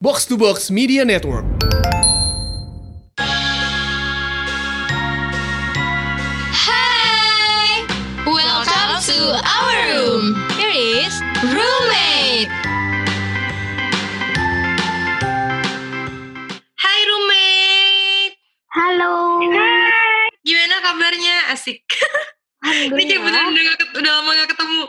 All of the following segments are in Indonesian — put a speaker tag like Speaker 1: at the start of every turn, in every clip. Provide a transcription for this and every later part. Speaker 1: Box to Box Media Network.
Speaker 2: Hi! Welcome to our room. Here is roommate.
Speaker 3: Hai roommate,
Speaker 4: Halo.
Speaker 3: gimana kabarnya? Asik. Ini kayak beneran udah, nggak ket- udah lama gak ketemu.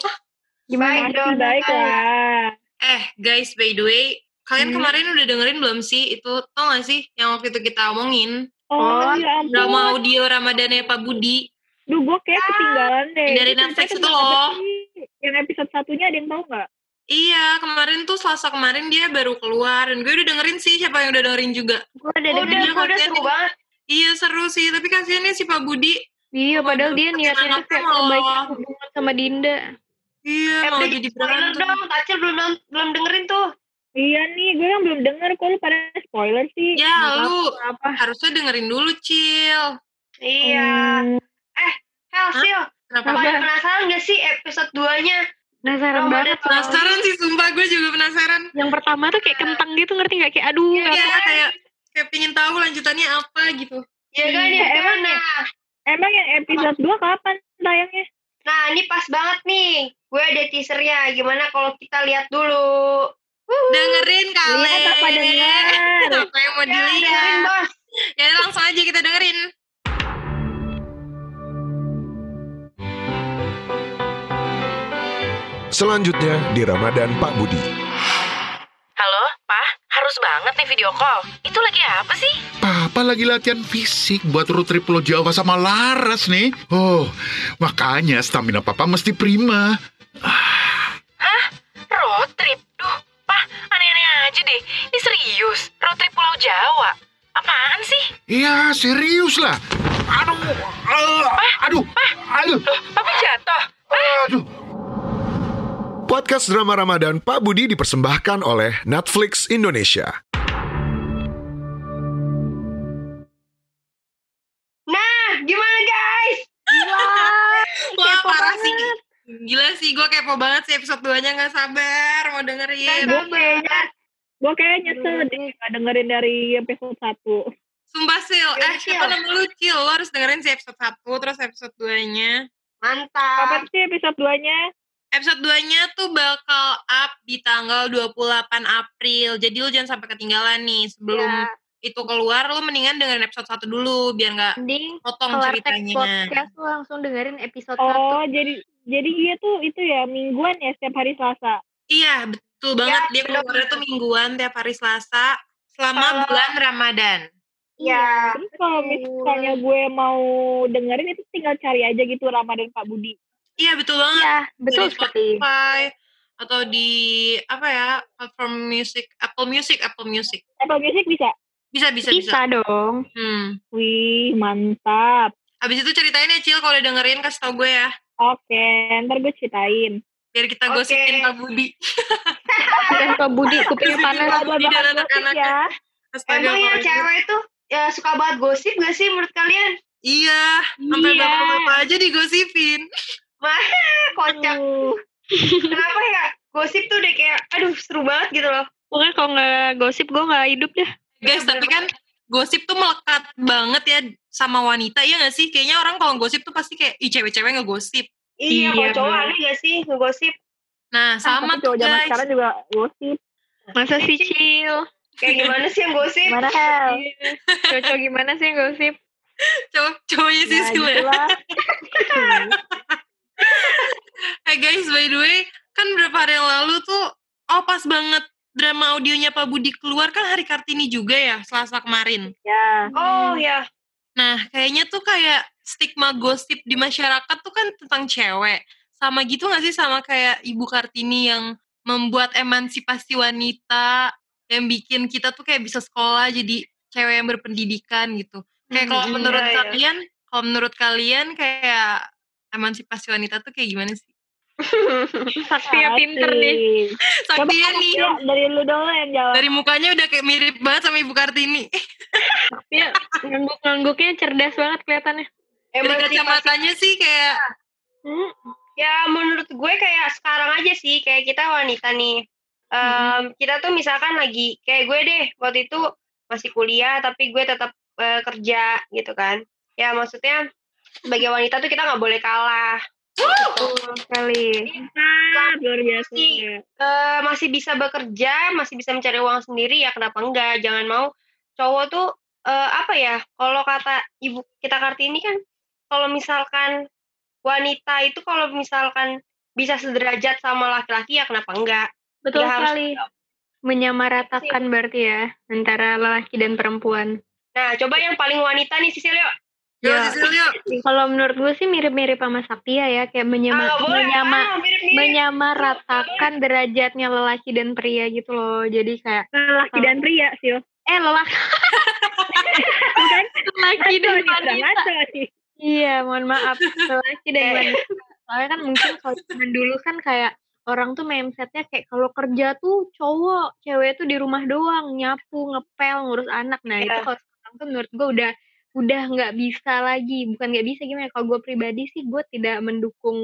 Speaker 4: Gimana
Speaker 5: Baik dong, baik lah.
Speaker 3: Eh guys, by the way, kalian
Speaker 4: Hmm.
Speaker 3: kemarin udah dengerin belum sih? Itu tau gak sih yang waktu itu kita omongin?
Speaker 5: Oh,
Speaker 4: Oh,
Speaker 5: ya
Speaker 3: Drama
Speaker 5: ampun.
Speaker 3: audio Ramadannya Pak Budi.
Speaker 5: Duh, gue kayak ketinggalan deh.
Speaker 3: Dari
Speaker 5: Itu
Speaker 3: Ah, Netflix
Speaker 5: ceritanya
Speaker 3: itu
Speaker 5: tentang apa
Speaker 3: loh.
Speaker 5: sih? Yang episode satunya ada yang tahu nggak?
Speaker 3: Iya, kemarin tuh selasa kemarin dia baru keluar. Dan gue udah dengerin sih siapa yang udah dengerin juga.
Speaker 4: Gue udah
Speaker 3: Udah,
Speaker 4: dengerin.
Speaker 3: gua udah seru
Speaker 4: banget.
Speaker 3: Iya seru sih, tapi kasihannya si Pak Budi.
Speaker 4: Iya, padahal dia
Speaker 3: Aduh,
Speaker 4: niatnya tuh
Speaker 3: anaknya
Speaker 4: kayak
Speaker 3: malah-
Speaker 4: membaiki hubungan sama Dinda.
Speaker 6: Eh,
Speaker 4: Eh,
Speaker 3: Iya, mau jadi berantem.
Speaker 4: Tacil belum belum dengerin tuh.
Speaker 5: Iya nih, gue yang belum denger. Kok lu pada spoiler sih?
Speaker 3: Ya, lu
Speaker 4: Apa?
Speaker 3: harusnya dengerin dulu, Cil.
Speaker 6: Iya.
Speaker 5: Hmm,
Speaker 6: Hasil,
Speaker 3: Kenapa?
Speaker 6: pada
Speaker 4: Apa?
Speaker 6: Eh, penasaran gak sih episode 2-nya?
Speaker 4: Penasaran banget.
Speaker 3: Penasaran sih, sumpah gue juga penasaran.
Speaker 4: Yang pertama tuh kayak kentang gitu ngerti nggak? Kayak aduh.
Speaker 3: Iya,
Speaker 4: nggak
Speaker 3: kayak, kayak pingin tahu lanjutannya apa gitu.
Speaker 6: Ya kan, ya
Speaker 5: Iya,
Speaker 6: kan?
Speaker 5: emang ya?
Speaker 6: Nah,
Speaker 5: emang yang episode 2 kapan tayangnya?
Speaker 6: nah, ini pas banget nih. Gue ada teasernya. Gimana kalau kita lihat dulu?
Speaker 3: Dengerin kali.
Speaker 5: Lihat apa dengar?
Speaker 3: Apa yang mau
Speaker 6: Ya, dengerin,
Speaker 3: dilihat?
Speaker 6: bos.
Speaker 3: Ya udah, langsung aja kita dengerin.
Speaker 7: Selanjutnya di Ramadan Pak Budi.
Speaker 8: Halo, Pak, harus banget nih video call. Itu lagi apa sih?
Speaker 9: Papa lagi latihan fisik buat road trip Pulau Jawa sama Laras nih. Oh, makanya stamina Papa mesti prima.
Speaker 8: Road trip. Duh, Pak, aneh-aneh aja deh. Ini serius, road trip Pulau Jawa. Apaan sih?
Speaker 9: Iya, serius lah. Aduh, ah, aduh, aduh,
Speaker 8: Papa jatuh.
Speaker 9: aduh.
Speaker 7: Podcast drama Ramadan Pak Budi dipersembahkan oleh Netflix Indonesia.
Speaker 6: Nah, gimana guys? Nah,
Speaker 3: Wah, parah sih. Gila sih, gue kepo banget sih episode 2-nya. Gak sabar mau dengerin.
Speaker 5: Gue kayaknya,
Speaker 6: Kayaknya
Speaker 5: gue kayaknya nyesel deh nggak dengerin dari episode 1.
Speaker 3: Sumpah, Sil.
Speaker 6: Yaudah,
Speaker 3: Eh, siapa
Speaker 6: Sil.
Speaker 3: nama lu, Cil? Lo harus dengerin si episode 1, terus episode 2-nya.
Speaker 5: Kapan
Speaker 3: Ah.
Speaker 6: Mantap.
Speaker 5: sih episode 2-nya?
Speaker 3: Episode 2-nya tuh bakal up di tanggal 28 April. Jadi lu jangan sampai ketinggalan nih. Sebelum
Speaker 6: Ya,
Speaker 3: itu keluar, lu mendingan dengerin episode 1 dulu. Biar gak
Speaker 4: Mending
Speaker 3: potong
Speaker 4: kelar teks
Speaker 3: Oh, ceritanya.
Speaker 4: podcast lu langsung dengerin episode
Speaker 5: Oh, jadi jadi dia tuh itu ya, mingguan ya setiap hari Selasa.
Speaker 3: Iya, betul banget. dia
Speaker 6: bener-bener.
Speaker 3: keluarnya tuh mingguan tiap hari Selasa selama
Speaker 6: Kalau-
Speaker 3: bulan Ramadan.
Speaker 6: ya.
Speaker 4: Iya,
Speaker 3: iya.
Speaker 5: Terus kalau misalnya gue mau dengerin itu tinggal cari aja gitu Ramadan Pak Budi.
Speaker 3: Iya, betul
Speaker 4: 1.
Speaker 3: banget.
Speaker 4: Iya,
Speaker 3: Bisa
Speaker 4: betul
Speaker 3: di
Speaker 4: sekali.
Speaker 3: Spotify atau di apa ya? platform music, Apple Music, Apple Music.
Speaker 5: Apple Music bisa?
Speaker 3: Bisa, bisa, bisa.
Speaker 4: Bisa dong.
Speaker 3: Hmm.
Speaker 5: Wih, mantap.
Speaker 3: Habis itu ceritain ya, Cil, kalau udah dengerin kasih tau gue ya.
Speaker 5: Oke, ntar gue ceritain.
Speaker 3: Biar kita
Speaker 6: Oke.
Speaker 3: gosipin Pak Budi.
Speaker 4: Dan Eh, Pak Budi kupingnya
Speaker 3: Bisa
Speaker 4: panas.
Speaker 3: Pak Budi dan
Speaker 5: Bakal gosip
Speaker 3: anak-anaknya.
Speaker 5: ya.
Speaker 3: Astaga,
Speaker 6: Emang yang
Speaker 3: Pak Budi.
Speaker 6: cewek itu ya suka banget gosip gak sih menurut kalian?
Speaker 3: Iya, sampai
Speaker 5: Iya.
Speaker 3: bapak-bapak aja digosipin.
Speaker 6: Eh, Kocak.
Speaker 5: Aduh,
Speaker 6: Kenapa ya? Gosip tuh udah kayak, aduh seru banget gitu loh.
Speaker 4: Pokoknya kalau nggak gosip gue nggak hidup deh.
Speaker 3: Guys, tapi kan gosip tuh melekat banget ya sama wanita, ya gak sih? Kayaknya orang kalau gosip tuh pasti kayak, ih cewek-cewek ngegosip.
Speaker 4: Iya,
Speaker 6: Iya, kalau cowok
Speaker 4: bener.
Speaker 6: aneh gak sih ngegosip?
Speaker 3: Nah,
Speaker 5: tapi
Speaker 3: sama tuh
Speaker 5: Kan cowok zaman
Speaker 3: guys.
Speaker 5: sekarang juga gosip.
Speaker 4: Masa sih cil?
Speaker 6: Kayak gimana sih yang gosip?
Speaker 4: Gimana Hel? Cocok gimana sih gosip?
Speaker 3: Cowok, cowoknya sih
Speaker 5: Nah,
Speaker 3: Sil ya.
Speaker 5: gitulah.
Speaker 3: Eh guys, by the way, kan berapa hari yang lalu tuh, oh pas banget drama audionya Pak Budi keluar kan hari Kartini juga ya, Selasa kemarin.
Speaker 5: Ya,
Speaker 6: Oh ya,
Speaker 3: Nah, kayaknya tuh kayak stigma gosip di masyarakat tuh kan tentang cewek. Sama gitu gak sih sama kayak Ibu Kartini yang membuat emansipasi wanita, yang bikin kita tuh kayak bisa sekolah jadi cewek yang berpendidikan gitu. Kayak kalau
Speaker 6: Hmm,
Speaker 3: menurut
Speaker 6: iya, iya.
Speaker 3: kalian, kalau menurut kalian kayak emansipasi wanita tuh kayak gimana sih?
Speaker 4: Sakti ya pinter deh.
Speaker 5: asik. Coba
Speaker 3: Saktia
Speaker 5: kamu,
Speaker 3: nih,
Speaker 5: Sil, dari lu dulu yang jawab.
Speaker 3: dari mukanya udah kayak mirip banget sama Ibu Kartini.
Speaker 4: Dia ngangguk-ngangguknya cerdas banget kelihatannya.
Speaker 3: Dari
Speaker 6: Emansipasi-
Speaker 3: kacamatanya sih kayak,
Speaker 6: Ya menurut gue kayak sekarang aja sih kayak kita wanita nih. eh em, kita tuh misalkan lagi kayak gue deh waktu itu masih kuliah tapi gue tetap eh, kerja gitu kan ya maksudnya sebagai wanita tuh kita nggak boleh kalah Betul sekali
Speaker 5: Mantap, luar biasa.
Speaker 6: Iya. Eh, masih bisa bekerja, masih bisa mencari uang sendiri ya kenapa enggak? Jangan mau cowok tuh eh, apa ya? Kalau kata ibu kita Kartini kan kalau misalkan wanita itu kalau misalkan bisa sederajat sama laki-laki ya kenapa enggak?
Speaker 4: Betul
Speaker 6: Ya, harus-
Speaker 4: sekali. Menyamaratakan berarti ya antara lelaki dan perempuan.
Speaker 6: Nah, coba yang paling wanita nih Sisilio.
Speaker 4: Ya, kalau menurut gue sih mirip-mirip sama Sapia ya, kayak menyama,
Speaker 6: Ah, nggak boleh.
Speaker 4: menyama,
Speaker 6: Ah, mirip-mirip.
Speaker 4: menyamaratakan derajatnya lelaki dan pria gitu loh. Jadi kayak
Speaker 5: Laki dan pria, Sil.
Speaker 4: eh lelaki bukan lelaki dan wanita. Iya, mohon maaf. Lelaki
Speaker 6: Eh,
Speaker 4: dan
Speaker 6: iya,
Speaker 4: wanita. Soalnya kan mungkin kalau zaman dulu kan kayak orang tuh mindsetnya kayak kalau kerja tuh cowok, cewek tuh di rumah doang, nyapu, ngepel, ngurus anak. Nah itu
Speaker 6: Iya.
Speaker 4: kalau sekarang tuh menurut gue udah udah nggak bisa lagi. Bukan nggak bisa gimana? ya, Kalau gue pribadi sih gue tidak mendukung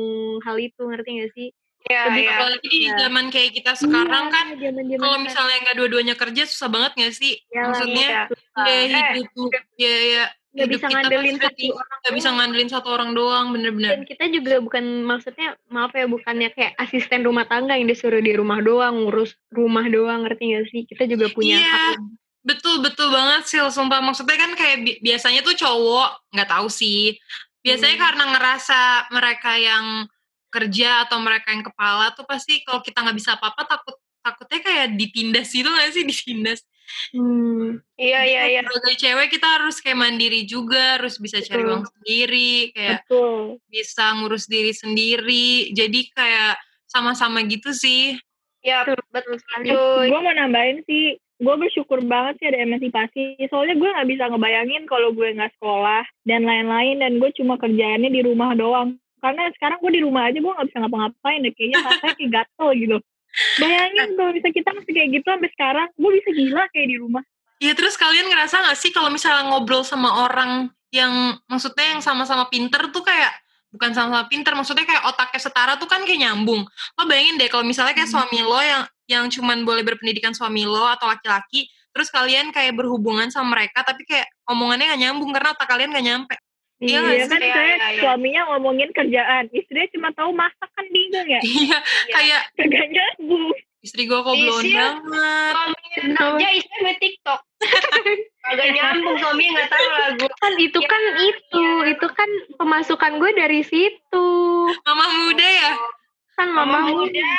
Speaker 4: hal itu, ngerti nggak sih?
Speaker 6: Ya,
Speaker 4: Lebih
Speaker 6: ya.
Speaker 3: Apalagi di
Speaker 4: Iya.
Speaker 3: zaman kayak kita sekarang kan kalau
Speaker 4: misalnya
Speaker 3: misalnya nggak dua-duanya kerja susah banget nggak sih?
Speaker 4: Ya,
Speaker 3: maksudnya
Speaker 6: Eh,
Speaker 3: Biaya hidup tuh, biaya
Speaker 4: nggak
Speaker 3: hidup
Speaker 4: bisa
Speaker 3: kita kan
Speaker 4: ngandelin
Speaker 3: sudah
Speaker 4: satu
Speaker 3: tinggi,
Speaker 4: orang
Speaker 3: nggak bisa
Speaker 4: doang. Iya.
Speaker 3: ngandelin satu orang doang bener-bener.
Speaker 4: dan kita juga bukan maksudnya maaf ya bukannya kayak asisten rumah tangga yang disuruh di rumah doang ngurus rumah doang ngerti gak sih kita juga punya
Speaker 3: Iya.
Speaker 4: hak
Speaker 3: Betul betul banget sih, sumpah maksudnya kan kayak bi- biasanya tuh cowok nggak tahu sih. Biasanya
Speaker 4: Hmm.
Speaker 3: karena ngerasa mereka yang kerja atau mereka yang kepala tuh pasti kalau kita nggak bisa apa-apa takut takutnya kayak ditindas gitu nggak sih ditindas.
Speaker 4: hmm,
Speaker 6: Iya, iya, iya.
Speaker 3: Sebagai cewek kita harus kayak mandiri juga, harus bisa cari
Speaker 4: Betul.
Speaker 3: uang sendiri, kayak
Speaker 5: Betul.
Speaker 3: bisa ngurus diri sendiri. Jadi kayak sama-sama gitu sih.
Speaker 6: Ya,
Speaker 4: Betul.
Speaker 6: betul sekali.
Speaker 5: Terus
Speaker 6: cuy.
Speaker 5: gue Eh, mau nambahin sih, gue bersyukur banget sih ada emansipasi. Soalnya gue nggak bisa ngebayangin kalau gue nggak sekolah dan lain-lain dan gue cuma kerjaannya di rumah doang. Karena sekarang gue di rumah aja gue nggak bisa ngapa-ngapain, deh. kayaknya rasanya kayak gatel gitu. Bayangin kalau bisa kita masih kayak gitu sampai sekarang, gue bisa gila kayak di rumah.
Speaker 3: Ya terus kalian ngerasa gak sih kalau misalnya ngobrol sama orang yang maksudnya yang sama-sama pinter tuh kayak bukan sama-sama pinter, maksudnya kayak otaknya setara tuh kan kayak nyambung. Lo bayangin deh kalau misalnya kayak suami lo yang yang cuman boleh berpendidikan suami lo atau laki-laki, terus kalian kayak berhubungan sama mereka tapi kayak omongannya gak nyambung karena otak kalian gak nyampe. Iya nggak
Speaker 5: Iya kan,
Speaker 6: sih?
Speaker 5: saya
Speaker 6: Iya, iya, iya.
Speaker 5: suaminya ngomongin kerjaan, istrinya cuma tahu masak kan bingung ya,
Speaker 3: Iya, kayak
Speaker 5: kagak nyambung.
Speaker 3: istri gue kok belum
Speaker 6: Iya.
Speaker 3: banget.
Speaker 6: Suami kerja istrinya main TikTok. Agak nyambung suaminya nggak tahu lagu.
Speaker 4: kan itu
Speaker 6: Iya,
Speaker 4: kan itu
Speaker 6: iya.
Speaker 4: itu kan pemasukan gue dari situ
Speaker 3: Mama muda ya?
Speaker 4: kan mama
Speaker 6: Mama
Speaker 4: muda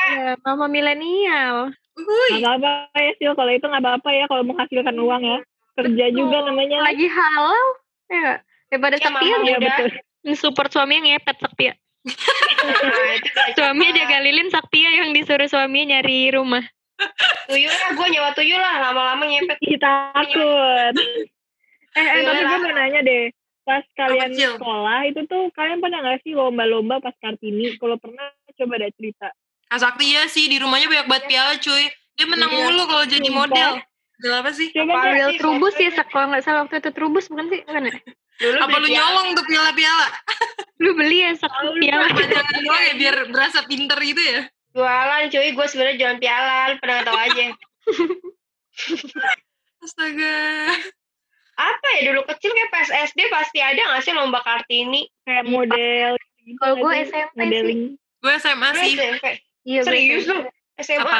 Speaker 4: mama milenial
Speaker 3: Wuih.
Speaker 5: Gak apa-apa ya Sil, kalau itu gak apa-apa ya kalau menghasilkan uang ya. Kerja juga namanya.
Speaker 4: lagi halal ya nggak? daripada ya
Speaker 6: Iya,
Speaker 4: Saktia
Speaker 6: mama
Speaker 5: Iya
Speaker 6: muda.
Speaker 5: betul.
Speaker 4: support suaminya ngepet Saktia
Speaker 6: Nah, itu nggak
Speaker 4: suaminya
Speaker 6: apa-apa.
Speaker 4: jaga lilin Saktia yang disuruh suaminya nyari rumah
Speaker 6: tuyul lah Iya, gue nyewa tuyul lah lama-lama nyepet
Speaker 5: Ih, takut. eh, eh,
Speaker 6: Iya.
Speaker 5: tapi gue mau nanya deh. Pas kalian
Speaker 3: Cil?
Speaker 5: sekolah itu tuh kalian pernah gak sih lomba-lomba pas Kartini? Kalau pernah coba ada cerita.
Speaker 3: Kak Sakti ya sih di rumahnya banyak banget piala cuy. Dia
Speaker 4: Iya.
Speaker 3: menang mulu kalau jadi model. Gak apa sih?
Speaker 5: Coba deh.
Speaker 4: Real Trubus ya Sak, kalau nggak salah waktu itu Trubus bukan sih bukan ya?
Speaker 6: dulu
Speaker 3: Apa lu nyolong tuh piala-piala?
Speaker 4: lu beli ya sak piala
Speaker 3: Jangan doang ya biar berasa pinter gitu ya.
Speaker 6: jualan cuy gue sebenarnya jualan piala lu pernah nggak tahu aja
Speaker 3: Astaga.
Speaker 6: apa ya dulu kecil kayak pas SD pasti ada nggak sih lomba kartini
Speaker 5: Kayak model. gitu
Speaker 4: Kalau gue
Speaker 5: nggak sih?
Speaker 4: SMP sih.
Speaker 5: Modeling.
Speaker 3: Gue SMA
Speaker 6: Lu
Speaker 3: sih.
Speaker 6: SMP
Speaker 4: iya
Speaker 6: serius lu SMA
Speaker 3: Apa?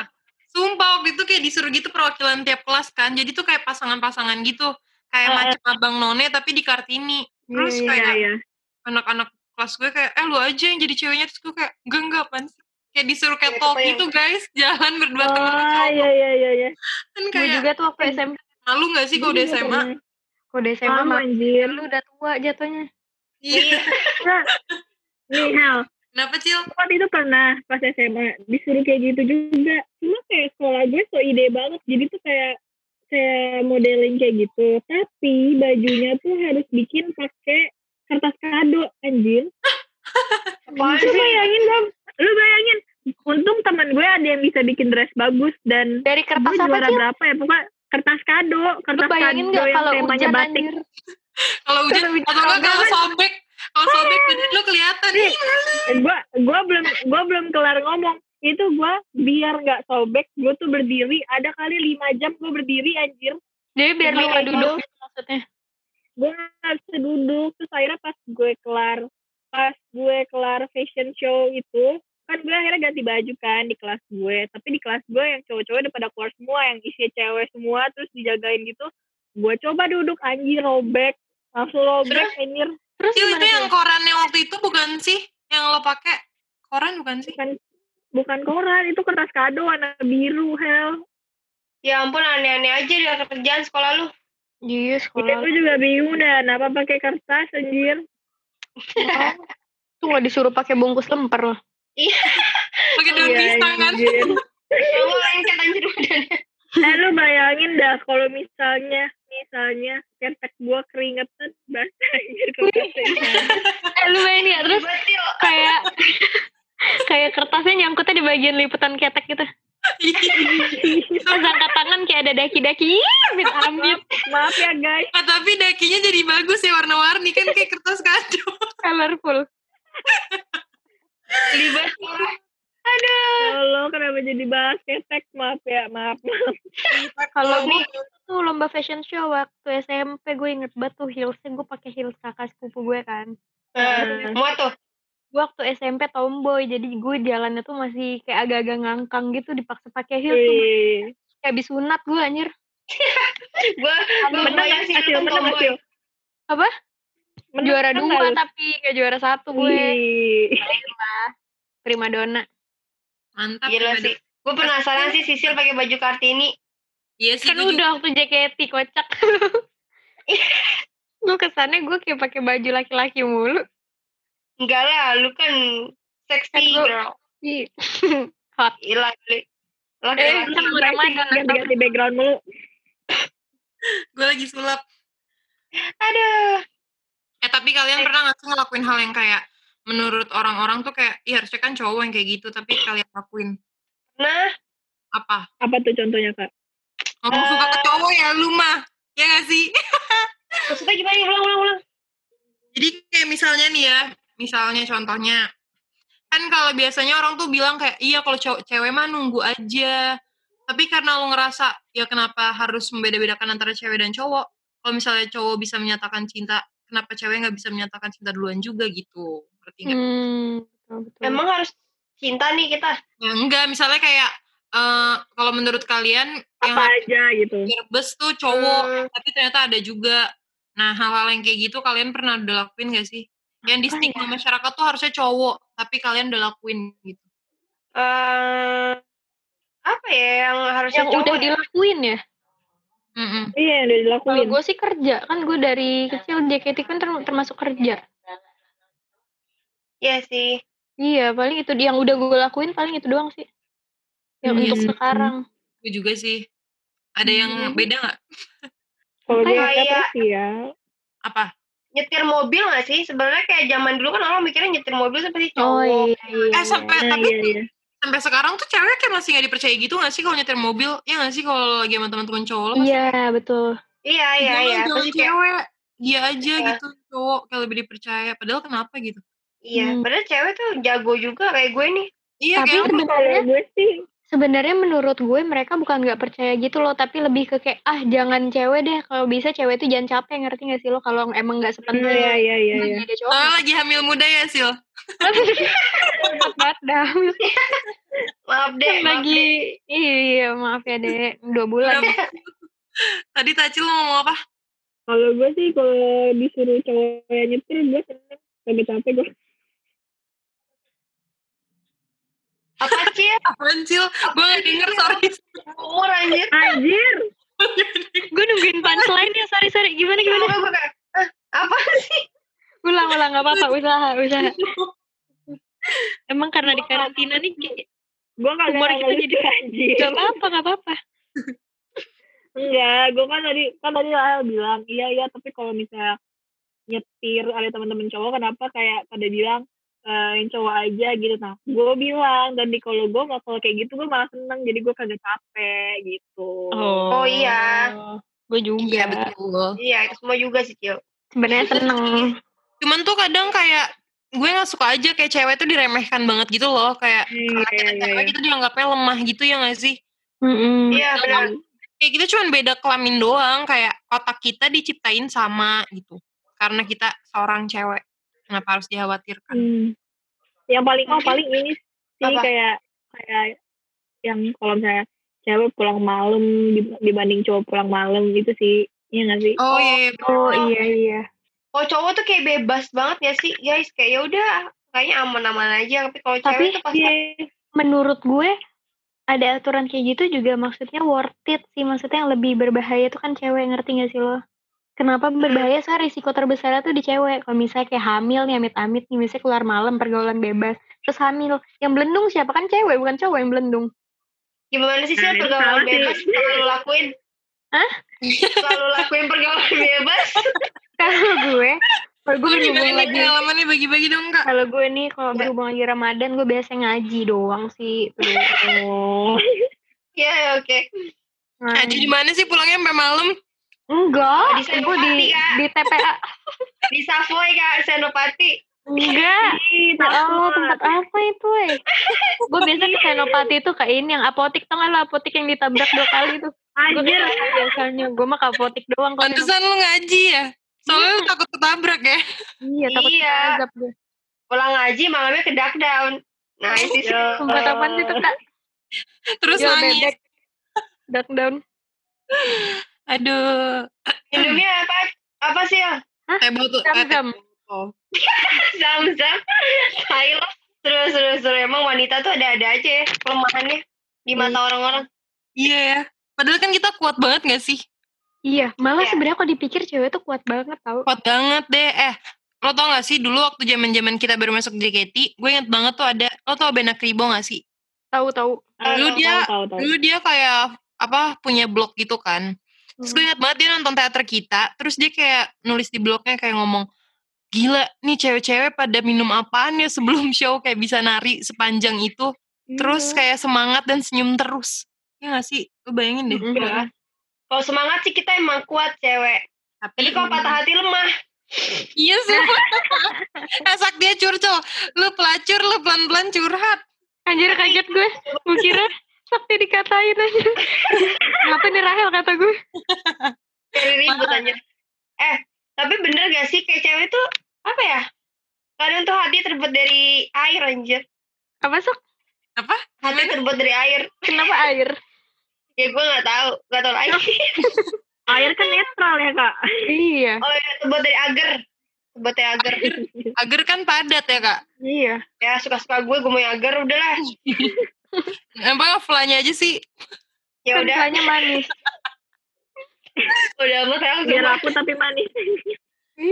Speaker 3: Sumpah waktu itu kayak disuruh gitu perwakilan tiap kelas kan. Jadi tuh kayak pasangan-pasangan gitu. Kayak
Speaker 5: Ah.
Speaker 3: macam abang none tapi di Kartini. Terus
Speaker 4: Iya,
Speaker 3: kayak
Speaker 5: iya.
Speaker 3: anak-anak kelas gue kayak, eh lu aja yang jadi ceweknya. Terus gue kayak, enggak, enggak apaan sih. Kayak disuruh
Speaker 4: Iya,
Speaker 3: kayak
Speaker 6: Ya,
Speaker 3: talk
Speaker 6: kebayang.
Speaker 3: gitu guys. Jalan berdua
Speaker 5: Ah, iya, iya, iya. iya.
Speaker 3: Kan
Speaker 4: Oh, gue
Speaker 3: kayak
Speaker 4: juga tuh waktu SMP
Speaker 3: malu gak sih kalau udah SMA?
Speaker 4: kalau udah SMA
Speaker 5: Sama
Speaker 4: mah
Speaker 5: iya. anjir.
Speaker 4: lu udah tua jatuhnya
Speaker 3: Iya.
Speaker 5: Nih, Hel.
Speaker 3: Kenapa Cil?
Speaker 5: waktu itu pernah pas SMA disuruh kayak gitu juga cuma kayak sekolah gue so ide banget jadi tuh kayak kayak modeling kayak gitu tapi bajunya tuh harus bikin pakai kertas kado anjir
Speaker 6: apaan
Speaker 5: lu
Speaker 6: sih
Speaker 5: bayangin dong lu bayangin untung teman gue ada yang bisa bikin dress bagus dan
Speaker 4: dari kertas
Speaker 5: gue
Speaker 4: apa
Speaker 5: juara
Speaker 4: sih
Speaker 5: berapa ya pokoknya kertas kado
Speaker 4: lu
Speaker 5: kertas
Speaker 4: bayangin
Speaker 5: kado
Speaker 4: nggak
Speaker 5: yang
Speaker 4: kalau
Speaker 5: temanya
Speaker 4: hujan
Speaker 5: batik
Speaker 4: anjir
Speaker 3: Kalau hujan
Speaker 4: Kalau hujan
Speaker 3: atau enggak kalau
Speaker 4: rongga kan-
Speaker 3: sobek, kalau sobek badan lu kelihatan. Ih,
Speaker 5: Eh, gue gue belum gue belum kelar ngomong itu gue biar nggak sobek gue tuh berdiri ada kali lima jam gue berdiri anjir
Speaker 4: Jadi biar lu
Speaker 5: Iya,
Speaker 4: nggak
Speaker 5: iya.
Speaker 4: duduk gitu maksudnya.
Speaker 5: gue nggak Ya, bisa duduk terus akhirnya pas gue kelar pas gue kelar fashion show itu kan gue akhirnya ganti baju kan di kelas gue tapi di kelas gue yang cowok-cowok udah pada keluar semua yang isinya cewek semua terus dijagain gitu gue coba duduk anjir robek langsung robek anjir
Speaker 4: Terus
Speaker 3: Cil, itu
Speaker 4: gimana
Speaker 3: yang koran yang waktu itu bukan sih? Yang lo pakai koran bukan sih?
Speaker 5: bukan bukan koran itu kertas kado warna biru hell
Speaker 6: Ya ampun aneh-aneh aja dia kerjaan sekolah lu.
Speaker 4: Iya
Speaker 5: Iya,
Speaker 4: sekolah
Speaker 5: gue juga bingung dah kenapa pakai kertas anjir
Speaker 4: tuh nggak disuruh pakai bungkus lempar loh.
Speaker 3: Pakai daun
Speaker 5: Iya,
Speaker 3: pisang kan?
Speaker 5: anjir.
Speaker 6: Kamu lengket anjir badannya.
Speaker 5: Eh lu bayangin dah kalau misalnya misalnya kepet gua keringetan basah gitu, anjir kertasnya.
Speaker 4: Eh, lu main ya terus
Speaker 6: Betul.
Speaker 4: kayak kayak kertasnya nyangkutnya di bagian liputan ketek gitu.
Speaker 3: Iya.
Speaker 4: Terus angkat tangan kayak ada daki-daki. Amit amit.
Speaker 5: Maaf ya guys,
Speaker 3: Ah, tapi dakinya jadi bagus ya warna-warni kan kayak kertas kado.
Speaker 4: Colorful.
Speaker 6: Libas sekolah.
Speaker 5: kalau kenapa jadi bahas ketek maaf ya maaf.
Speaker 4: Kalau
Speaker 6: Hobi.
Speaker 4: gue tuh lomba fashion show waktu SMP gue inget banget tuh heelsnya gue pakai heels kakak sepupu gue kan.
Speaker 6: Eh, Muat tuh.
Speaker 4: gue waktu SMP tomboy jadi gue jalannya tuh masih kayak agak-agag ngangkang gitu dipaksa pakai heels
Speaker 5: Iya.
Speaker 4: tuh
Speaker 5: Wih.
Speaker 4: kayak habis sunat gue anjir
Speaker 6: Gua gua
Speaker 5: Menang gak sih
Speaker 6: bayangin
Speaker 5: Cil?
Speaker 6: lu
Speaker 5: Menang gak
Speaker 6: tomboy.
Speaker 5: Cil?
Speaker 4: Apa?
Speaker 5: Menang
Speaker 4: juara
Speaker 5: kan Iya.
Speaker 4: dua
Speaker 5: gak?
Speaker 4: tapi gak juara satu gue
Speaker 5: Wih.
Speaker 4: prima donna
Speaker 3: Mantap.
Speaker 6: Gila sih. Gue penasaran sih Sisil pakai baju Kartini.
Speaker 3: Iya sih.
Speaker 4: kan
Speaker 3: gua juga.
Speaker 4: udah waktu JKT kocak gue kesannya gue kayak pakai baju laki-laki mulu
Speaker 6: Enggak lah, lu kan sexy
Speaker 4: Kan gua-
Speaker 6: girl.
Speaker 4: Ih,
Speaker 6: Gila, gila.
Speaker 4: Eh,
Speaker 6: Laki-laki.
Speaker 4: kan
Speaker 5: Guys,
Speaker 4: Ramadan,
Speaker 5: Ganti-ganti background mulu.
Speaker 3: Gue lagi sulap.
Speaker 6: Aduh.
Speaker 3: Eh tapi kalian pernah nggak sih ngelakuin hal yang kayak menurut orang-orang tuh kayak, iya harusnya kan cowok yang kayak gitu, tapi kalian lakuin
Speaker 6: Nah,
Speaker 3: apa?
Speaker 5: Apa tuh contohnya kak?
Speaker 3: Ngomong suka ke cowok ya lu mah, ya gak sih?
Speaker 6: maksudnya gimana? Ulang, ulang, ulang.
Speaker 3: Jadi kayak misalnya nih ya, misalnya contohnya, kan kalau biasanya orang tuh bilang kayak, iya kalau cowok cewek mah nunggu aja. Tapi karena lu ngerasa, ya kenapa harus membeda-bedakan antara cewek dan cowok? Kalau misalnya cowok bisa menyatakan cinta, kenapa cewek nggak bisa menyatakan cinta duluan juga gitu? Ngerti nggak?
Speaker 4: hmm, betul, betul.
Speaker 6: Emang harus cinta nih kita.
Speaker 3: Ya, enggak, misalnya kayak, eh, kalau menurut kalian, yang Iya.
Speaker 5: Apa aja gitu.
Speaker 3: direbes tuh cowok,
Speaker 6: Hmm.
Speaker 3: tapi ternyata ada juga. Nah, hal-hal yang kayak gitu kalian pernah udah lakuin gak sih? Yang di
Speaker 4: Apa
Speaker 3: stigma masyarakat tuh harusnya cowok, tapi kalian udah lakuin gitu.
Speaker 6: eh apa ya yang harusnya
Speaker 4: yang udah
Speaker 6: ya?
Speaker 4: dilakuin ya
Speaker 3: Mm-mm.
Speaker 5: Iya yang udah
Speaker 4: kalau
Speaker 5: dilakuin.
Speaker 4: gue sih kerja kan gue dari kecil JKT kan term- termasuk kerja
Speaker 6: Iya sih.
Speaker 4: Iya, paling itu yang udah gue lakuin paling itu doang sih. Yang
Speaker 3: Hmm, iya
Speaker 4: untuk
Speaker 3: sih.
Speaker 4: sekarang.
Speaker 3: Gue juga sih. Ada yang beda nggak?
Speaker 5: Kalau gue
Speaker 6: Kayak-
Speaker 5: nggak terus sih ya.
Speaker 3: Apa?
Speaker 6: Nyetir mobil gak sih? Sebenarnya kayak zaman dulu kan orang mikirnya nyetir mobil seperti cowok.
Speaker 4: iya.
Speaker 3: eh sampai
Speaker 5: Nah,
Speaker 3: tapi
Speaker 5: iya, iya.
Speaker 3: sampai sekarang tuh cewek kayak masih nggak dipercaya gitu nggak sih kalau nyetir mobil? Ya nggak sih kalau lagi sama teman-teman cowok lo?
Speaker 4: Iya, betul.
Speaker 6: Iya, iya,
Speaker 3: "Jangan,
Speaker 6: iya.
Speaker 3: jangan
Speaker 6: Pasti kayak-
Speaker 3: cewek dia aja
Speaker 6: Iya.
Speaker 3: gitu cowok kayak lebih dipercaya. Padahal kenapa gitu?
Speaker 6: Iya,
Speaker 4: Hmm.
Speaker 6: padahal cewek tuh jago juga kayak gue nih.
Speaker 3: Iya
Speaker 4: tapi
Speaker 3: kayak
Speaker 5: Kalau
Speaker 4: sebenarnya
Speaker 5: gue sih
Speaker 4: sebenarnya menurut gue mereka bukan nggak percaya gitu loh, tapi lebih ke kayak ah jangan cewek deh, kalau bisa cewek itu jangan capek ngerti gak sih lo kalau emang nggak sepentar
Speaker 5: Iya iya iya iya.
Speaker 4: ada cowok.
Speaker 3: Soalnya lagi hamil muda ya Sil.
Speaker 4: Hebat banget kan? dah.
Speaker 6: Maaf deh, maaf
Speaker 4: Kan Lagi
Speaker 6: deh.
Speaker 4: iya maaf ya deh dua bulan.
Speaker 3: Udah- Tadi Tacil mau ngomong apa?
Speaker 5: Kalau gue sih kalau disuruh cowok yang nyetir gue seneng kagak capek gue.
Speaker 6: Apa Cil?
Speaker 3: Apaan Sil? Gue
Speaker 6: Iya,
Speaker 3: nggak denger sorry.
Speaker 6: Umur anjir.
Speaker 5: Anjir.
Speaker 4: gue nungguin punchline ya, sorry sorry. Gimana gimana?
Speaker 6: Kenapa gue kayak, "Eh, apa sih?
Speaker 4: ulang ulang nggak apa-apa usaha usaha emang karena di karantina nih kayak-
Speaker 5: Gue kagak
Speaker 4: Umur kita
Speaker 5: jadi anjir.
Speaker 4: nggak apa-apa nggak apa-apa
Speaker 5: Enggak, gue kan tadi kan tadi Lael bilang iya iya tapi kalau misalnya nyetir ada teman-teman cowok kenapa kayak pada bilang eh, yang cowok aja gitu nah gue bilang dan di kalau gue nggak kalau kayak gitu gue malah seneng jadi gue kagak capek gitu
Speaker 6: Oh, iya.
Speaker 4: gue juga
Speaker 5: Iya,
Speaker 3: Iya, betul.
Speaker 6: Iya, itu semua juga sih, Cil.
Speaker 4: sebenarnya seneng
Speaker 3: Cuman tuh kadang kayak gue nggak suka aja kayak cewek tuh diremehkan banget gitu loh kayak
Speaker 5: Hmm,
Speaker 3: karena kita
Speaker 5: iya, iya,
Speaker 3: cewek
Speaker 5: iya.
Speaker 3: gitu dianggapnya lemah gitu ya nggak sih
Speaker 6: Iya,
Speaker 3: Yang
Speaker 6: benar.
Speaker 3: kayak kita cuman beda kelamin doang kayak otak kita diciptain sama gitu karena kita seorang cewek kenapa harus dikhawatirkan
Speaker 5: Hmm. Yang paling oh
Speaker 6: Mungkin-
Speaker 5: paling ini sih
Speaker 6: Apa?
Speaker 5: kayak kayak yang kalau misalnya cewek pulang malam dib- dibanding cowok pulang malam gitu sih. Iya nggak sih?
Speaker 3: oh iya, iya
Speaker 4: Oh iya iya.
Speaker 6: Kalau cowok tuh kayak bebas banget ya sih guys, kayak ya udah kayaknya aman-aman aja. Tapi kalau
Speaker 4: Tapi, ya,
Speaker 6: cewek tuh pasti
Speaker 5: Iya.
Speaker 4: Menurut gue ada aturan kayak gitu juga maksudnya worth it sih maksudnya yang lebih berbahaya tuh kan cewek ngerti gak sih lo? Kenapa berbahaya soal risiko terbesarnya tuh di cewek kalau misalnya kayak hamil nih amit-amit nih misalnya keluar malam pergaulan bebas terus hamil yang belendung siapa kan cewek bukan cowok yang belendung
Speaker 6: gimana sih sih
Speaker 5: Nah, itu
Speaker 6: pergaulan
Speaker 5: salah sih.
Speaker 6: bebas selalu lakuin?
Speaker 4: Hah?
Speaker 6: Selalu lakuin pergaulan bebas.
Speaker 4: kalau gue kalau gue
Speaker 3: gue
Speaker 4: berhubungan
Speaker 3: gimana nih
Speaker 4: lagi
Speaker 3: pengalamannya bagi-bagi dong kak
Speaker 4: kalau gue nih kalau berhubungan lagi Ramadan gue biasa ngaji doang sih tuh
Speaker 6: Iya, ya, oke.
Speaker 3: nah, jadi mana sih pulangnya sampai malam
Speaker 4: enggak gue
Speaker 6: Di
Speaker 4: di
Speaker 6: Senopati, Kak.
Speaker 4: di TPA
Speaker 6: Di Savoy Kak Senopati. Iya, oh,
Speaker 4: enggak Ya Allah, tempat apa itu, eh? gue biasa ke Senopati itu ke ini yang apotik tengah lah apotik yang ditabrak dua kali tuh. Gue
Speaker 5: Anjir.
Speaker 4: biasanya gue mah ke apotik doang kalau
Speaker 3: pantesan lu ngaji ya soalnya lu takut ketabrak ya
Speaker 4: Iya, takut
Speaker 6: Iya.
Speaker 4: diazab gue.
Speaker 6: Pulang ngaji malamnya ke duck down. Nice sih.
Speaker 4: Tempat apa sih itu kak?
Speaker 3: terus
Speaker 4: Yo,
Speaker 3: nangis
Speaker 4: Iya, bebek. Duck down.
Speaker 3: aduh
Speaker 6: Minumnya apa? Apa sih ya?
Speaker 3: teh bau tuh eh, teh
Speaker 4: Zam-zam.
Speaker 6: Zam-zam. Tai lo. Terus, terus, terus. Emang wanita tuh ada-ada aja ya kelemahannya di mata orang-orang.
Speaker 3: Iya ya. Padahal kan kita kuat banget gak sih?
Speaker 4: Iya, malah
Speaker 6: Iya.
Speaker 4: sebenarnya kalau dipikir cewek tuh kuat banget tau.
Speaker 3: Kuat banget deh. Eh, lo tau gak sih dulu waktu zaman zaman kita baru masuk JKT, gue inget banget tuh ada, lo tau Bena Kribo gak sih?
Speaker 4: Tahu tahu.
Speaker 3: Dulu dia-
Speaker 5: tahu, tahu, tahu.
Speaker 3: Dulu dia kayak, apa, punya blog gitu kan. Terus gue inget banget dia nonton teater kita, terus dia kayak nulis di blognya kayak ngomong, gila nih cewek-cewek pada minum apaan ya sebelum show kayak bisa nari sepanjang itu. Terus kayak semangat dan senyum terus. Ya gak sih? Lo bayangin deh.
Speaker 6: Iya. Kalau semangat sih kita emang kuat cewek. Tapi kalau patah hati lemah.
Speaker 3: Iya sih. Asak dia curcol. Lu pelacur, lu pelan-pelan curhat.
Speaker 4: Anjir kaget gue. Gue kira Sakti dikatain aja. Ngapa nih Rahel kata gue?
Speaker 6: Cari ribut aja. Eh, tapi bener gak sih kayak cewek tuh apa ya? Kadang tuh hati terbuat dari air anjir.
Speaker 4: Apa sok?
Speaker 6: Hati terbuat dari air.
Speaker 4: Kenapa air?
Speaker 6: Ya gue gak tahu, gak tahu lagi.
Speaker 5: Air kan netral ya kak.
Speaker 4: Iya.
Speaker 6: Oh ya, terbuat dari agar. Terbuat dari agar. gitu.
Speaker 3: Agar kan padat ya kak.
Speaker 4: Iya.
Speaker 6: Ya suka-suka gue, gue mau yang agar udahlah.
Speaker 3: Apa flanya aja sih?
Speaker 6: Ya
Speaker 4: Kan
Speaker 6: udah,
Speaker 4: rasanya manis.
Speaker 6: udah amat ya.
Speaker 5: Biar aku tapi manis.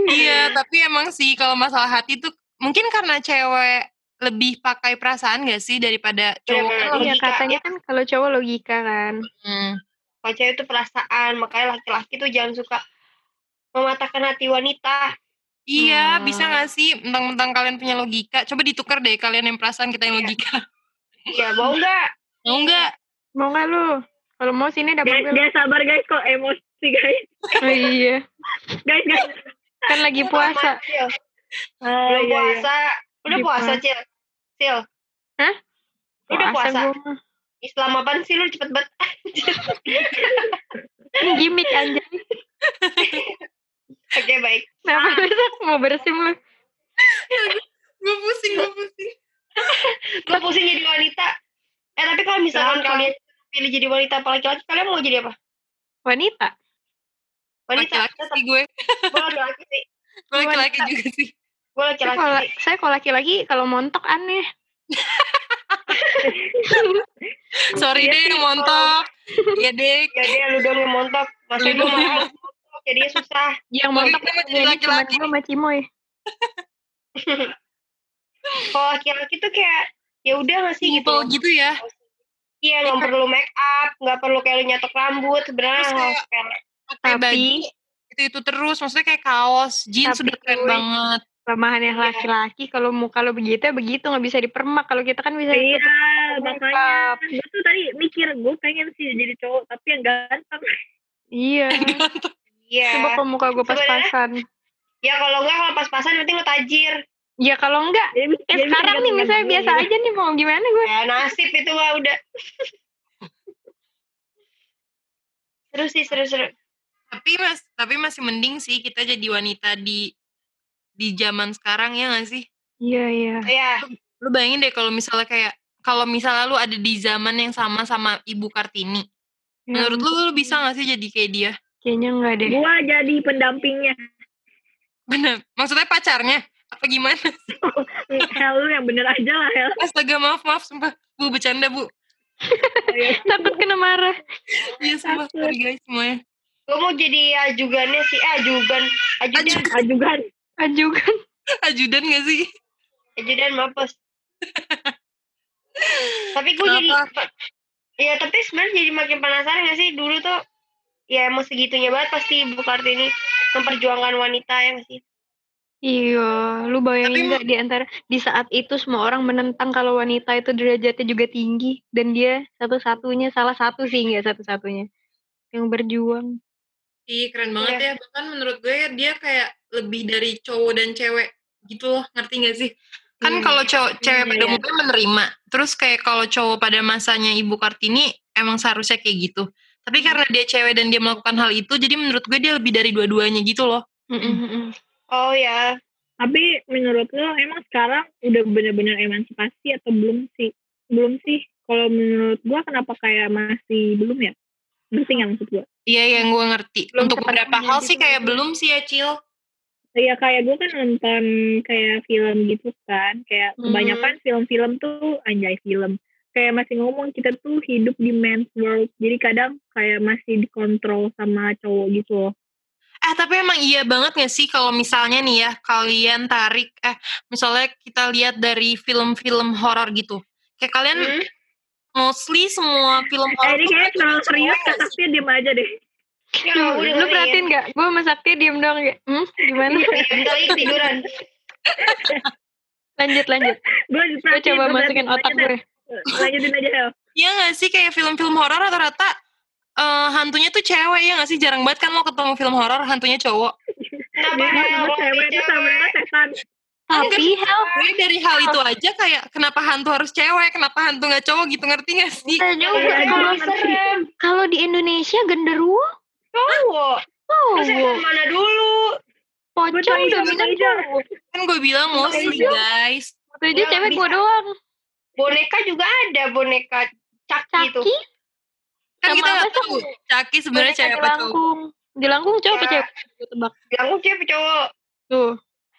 Speaker 3: Iya, tapi emang sih kalau masalah hati tuh mungkin karena cewek lebih pakai perasaan gak sih daripada cowok.
Speaker 6: Bener.
Speaker 3: kan?
Speaker 4: Iya
Speaker 6: Logika,
Speaker 4: katanya kan kalau cowok logika kan.
Speaker 3: Hmm.
Speaker 6: Kalau cewek tuh perasaan, makanya laki-laki tuh jangan suka mematahkan hati wanita.
Speaker 3: Iya,
Speaker 4: Hmm.
Speaker 3: bisa gak sih? Mentang-mentang kalian punya logika, coba ditukar deh kalian yang perasaan kita yang
Speaker 6: Iya.
Speaker 3: logika.
Speaker 6: Ya mau nggak?
Speaker 3: Mau nggak?
Speaker 4: Mau nggak lu? Kalau mau sini dapat
Speaker 5: Guys,
Speaker 4: gue.
Speaker 5: guys sabar guys kok emosi guys.
Speaker 4: Oh, iya.
Speaker 5: Guys guys.
Speaker 4: Kan lagi puasa.
Speaker 6: Cil.
Speaker 5: Ah,
Speaker 6: Belum
Speaker 5: iya, iya.
Speaker 6: puasa. Udah
Speaker 4: Lagi
Speaker 6: puasa, Cil. Cil.
Speaker 4: Hah?
Speaker 6: Udah puasa.
Speaker 4: gue mah.
Speaker 6: Islam apaan sih lu cepet banget? Anjir.
Speaker 4: Ini gimmick anjay.
Speaker 6: Oke, baik.
Speaker 4: Kenapa lu Sak? mau bersim lu?
Speaker 3: Gue pusing, gue pusing.
Speaker 6: Gue pusing jadi wanita. Eh, tapi kalau misalkan kalian pilih jadi wanita apa laki-laki, kalian mau jadi apa?
Speaker 4: Wanita.
Speaker 6: Wanita?
Speaker 3: Laki-laki
Speaker 6: Tetap.
Speaker 3: sih gue.
Speaker 6: Gue laki-laki sih.
Speaker 3: Gue laki-laki juga sih.
Speaker 6: Gue
Speaker 4: Saya
Speaker 6: laki-laki
Speaker 4: kalau
Speaker 6: sih.
Speaker 4: saya kalau laki-laki kalau montok aneh.
Speaker 3: Sorry
Speaker 6: Iya
Speaker 3: deh,
Speaker 6: sih,
Speaker 3: montok. Iya deh,
Speaker 6: Ya deh, lu dong yang montok. Maksud
Speaker 3: Lu
Speaker 6: gue
Speaker 3: dong yang
Speaker 6: mahal. Jadinya susah.
Speaker 4: Yang
Speaker 3: Bagi
Speaker 4: montok
Speaker 3: kita mah jadi
Speaker 4: ini cuma
Speaker 3: laki-laki.
Speaker 4: gue sama Cimoy.
Speaker 6: Kalau laki-laki tuh kayak, ya udah gak sih gitu.
Speaker 3: simple gitu ya.
Speaker 6: Iya, nggak perlu make up, nggak perlu kayak lu nyatok rambut, sebenarnya
Speaker 3: Terus
Speaker 6: nggak harus kayak
Speaker 3: Pakai
Speaker 4: Tapi-
Speaker 3: baju itu itu terus, maksudnya kayak kaos, jeans
Speaker 4: Tapi
Speaker 3: sudah keren
Speaker 4: cuy.
Speaker 3: banget.
Speaker 4: Kelemahan yang laki-laki kalau muka lo begitu ya begitu nggak bisa dipermak. Kalau kita kan bisa
Speaker 5: Iya,
Speaker 4: tutup
Speaker 5: makanya gue tuh tadi mikir gue pengen sih jadi cowok tapi yang ganteng.
Speaker 4: Iya.
Speaker 6: iya.
Speaker 4: Coba kalau muka gue
Speaker 6: Sebenarnya-
Speaker 4: pas-pasan.
Speaker 6: Ya kalau nggak kalau pas-pasan nanti lu tajir.
Speaker 4: Ya kalau enggak,
Speaker 5: Ya, bisa-
Speaker 4: eh
Speaker 5: ya
Speaker 4: sekarang
Speaker 5: bisa
Speaker 4: nih
Speaker 5: gantung-gantung
Speaker 4: misalnya
Speaker 5: diri
Speaker 4: biasa
Speaker 5: gitu.
Speaker 4: aja nih mau gimana gue.
Speaker 6: ya nasib itu mah udah seru sih seru seru
Speaker 3: tapi mas tapi masih mending sih kita jadi wanita di di zaman sekarang ya nggak sih
Speaker 4: Iya iya.
Speaker 6: ya
Speaker 3: lu bayangin deh kalau misalnya kayak kalau misalnya lu ada di zaman yang sama sama ibu kartini menurut lu lu bisa nggak sih jadi kayak dia
Speaker 4: Ya Kayaknya enggak deh.
Speaker 5: Gua jadi pendampingnya.
Speaker 3: bener maksudnya pacarnya apa gimana
Speaker 5: Hel lu yang bener aja lah Hel.
Speaker 3: astaga maaf maaf sumpah bu bercanda bu
Speaker 4: Takut kena marah.
Speaker 3: iya sumpah sorry guys semuanya
Speaker 6: gue mau jadi ajugannya sih eh, ajugan ajudan
Speaker 5: Ajugan.
Speaker 4: Ajukan.
Speaker 3: ajudan gak sih
Speaker 6: ajudan mampus tapi gue jadi ya tapi sebenarnya jadi makin penasaran gak sih dulu tuh ya emang segitunya banget pasti ibu kartini memperjuangkan wanita ya nggak sih
Speaker 4: Iya, lu
Speaker 3: Tapi
Speaker 4: bayangin
Speaker 3: mau-
Speaker 4: nggak di antara di saat itu semua orang menentang kalau wanita itu derajatnya juga tinggi dan dia satu-satunya salah satu sih nggak satu-satunya yang berjuang.
Speaker 3: Iya keren banget ya bahkan menurut gue dia kayak lebih dari cowok dan cewek gitu loh ngerti gak sih kan
Speaker 4: Iya.
Speaker 3: kalau cowok cewek pada
Speaker 4: Iya.
Speaker 3: umumnya menerima terus kayak kalau cowok pada masanya ibu kartini emang seharusnya kayak gitu tapi karena dia cewek dan dia melakukan hal itu jadi menurut gue dia lebih dari dua-duanya gitu loh
Speaker 4: Mm-mm-mm.
Speaker 6: oh ya
Speaker 5: Tapi menurut lo emang sekarang udah bener-bener emansipasi atau belum sih? Belum sih. Kalau menurut gua kenapa kayak masih belum ya? Ngerti nggak maksud gua?
Speaker 3: iya yang gue ngerti
Speaker 4: Belum
Speaker 3: untuk
Speaker 4: sepenuhnya
Speaker 3: beberapa hal
Speaker 4: gitu
Speaker 3: sih kayak
Speaker 4: loh.
Speaker 3: belum sih ya Cil
Speaker 5: Iya kayak gua kan nonton kayak film gitu kan. Kayak
Speaker 4: Hmm.
Speaker 5: kebanyakan film-film tuh anjay film. Kayak masih ngomong kita tuh hidup di man's world. Jadi kadang kayak masih dikontrol sama cowok gitu loh.
Speaker 3: Eh tapi emang iya banget gak sih kalau misalnya nih ya kalian tarik eh misalnya kita lihat dari film-film horor gitu. Kayak kalian
Speaker 4: Kan
Speaker 6: Hmm.
Speaker 3: mostly semua film
Speaker 4: Oh,
Speaker 5: Eh
Speaker 3: horor
Speaker 5: ini
Speaker 3: tuh
Speaker 5: kayaknya
Speaker 3: pakai
Speaker 5: terlalu
Speaker 3: cowok
Speaker 5: serius
Speaker 3: gak
Speaker 5: Kak
Speaker 3: sih?
Speaker 5: Saktia diem aja deh.
Speaker 6: ya
Speaker 4: Tuh,
Speaker 6: udah
Speaker 4: lu perhatiin nggak? Gue sama Sakti diem doang ya. Hmm, gimana?
Speaker 6: Iya, tiduran
Speaker 4: lanjut lanjut.
Speaker 5: Gue
Speaker 4: Gue coba masukin otak gue.
Speaker 5: Lanjutin aja Hel.
Speaker 3: Iya gak sih kayak film-film horor rata-rata eh, hantunya tuh cewek ya gak sih? Jarang banget kan lo ketemu film horor hantunya cowok.
Speaker 6: kenapa
Speaker 5: Dia
Speaker 6: Hel?
Speaker 5: sama
Speaker 6: Kalau
Speaker 5: cewek itu sama
Speaker 6: cewek.
Speaker 5: setan.
Speaker 4: Tapi kan Hel,
Speaker 3: Gue dari hal itu aja kayak kenapa hantu harus cewek, kenapa hantu gak cowok gitu ngerti gak sih?
Speaker 4: kita juga
Speaker 5: Iya,
Speaker 4: kalau
Speaker 6: Kalau serem
Speaker 4: kalau di Indonesia genderuwo,
Speaker 6: cowok terus yang mana dulu
Speaker 4: pocong
Speaker 5: Bener, iya,
Speaker 4: dominan
Speaker 5: bener.
Speaker 4: cowok.
Speaker 3: Kan gue
Speaker 5: Iya,
Speaker 3: bilang mostly guys.
Speaker 4: Itu aja
Speaker 6: Nggak
Speaker 4: cewek
Speaker 6: bisa.
Speaker 4: gue doang.
Speaker 6: boneka juga ada boneka caki itu
Speaker 4: Caki
Speaker 3: Kan
Speaker 4: Sama
Speaker 3: kita
Speaker 4: apa
Speaker 3: gak tahu Caki sebenarnya
Speaker 4: boneka
Speaker 3: cewek apa
Speaker 5: gitu
Speaker 3: cowok.
Speaker 4: jelangkung. Jelangkung cowok apa
Speaker 6: Ya.
Speaker 4: cewek? Gue tebak.
Speaker 6: bilang "Oh, cewek cowok
Speaker 4: Tuh.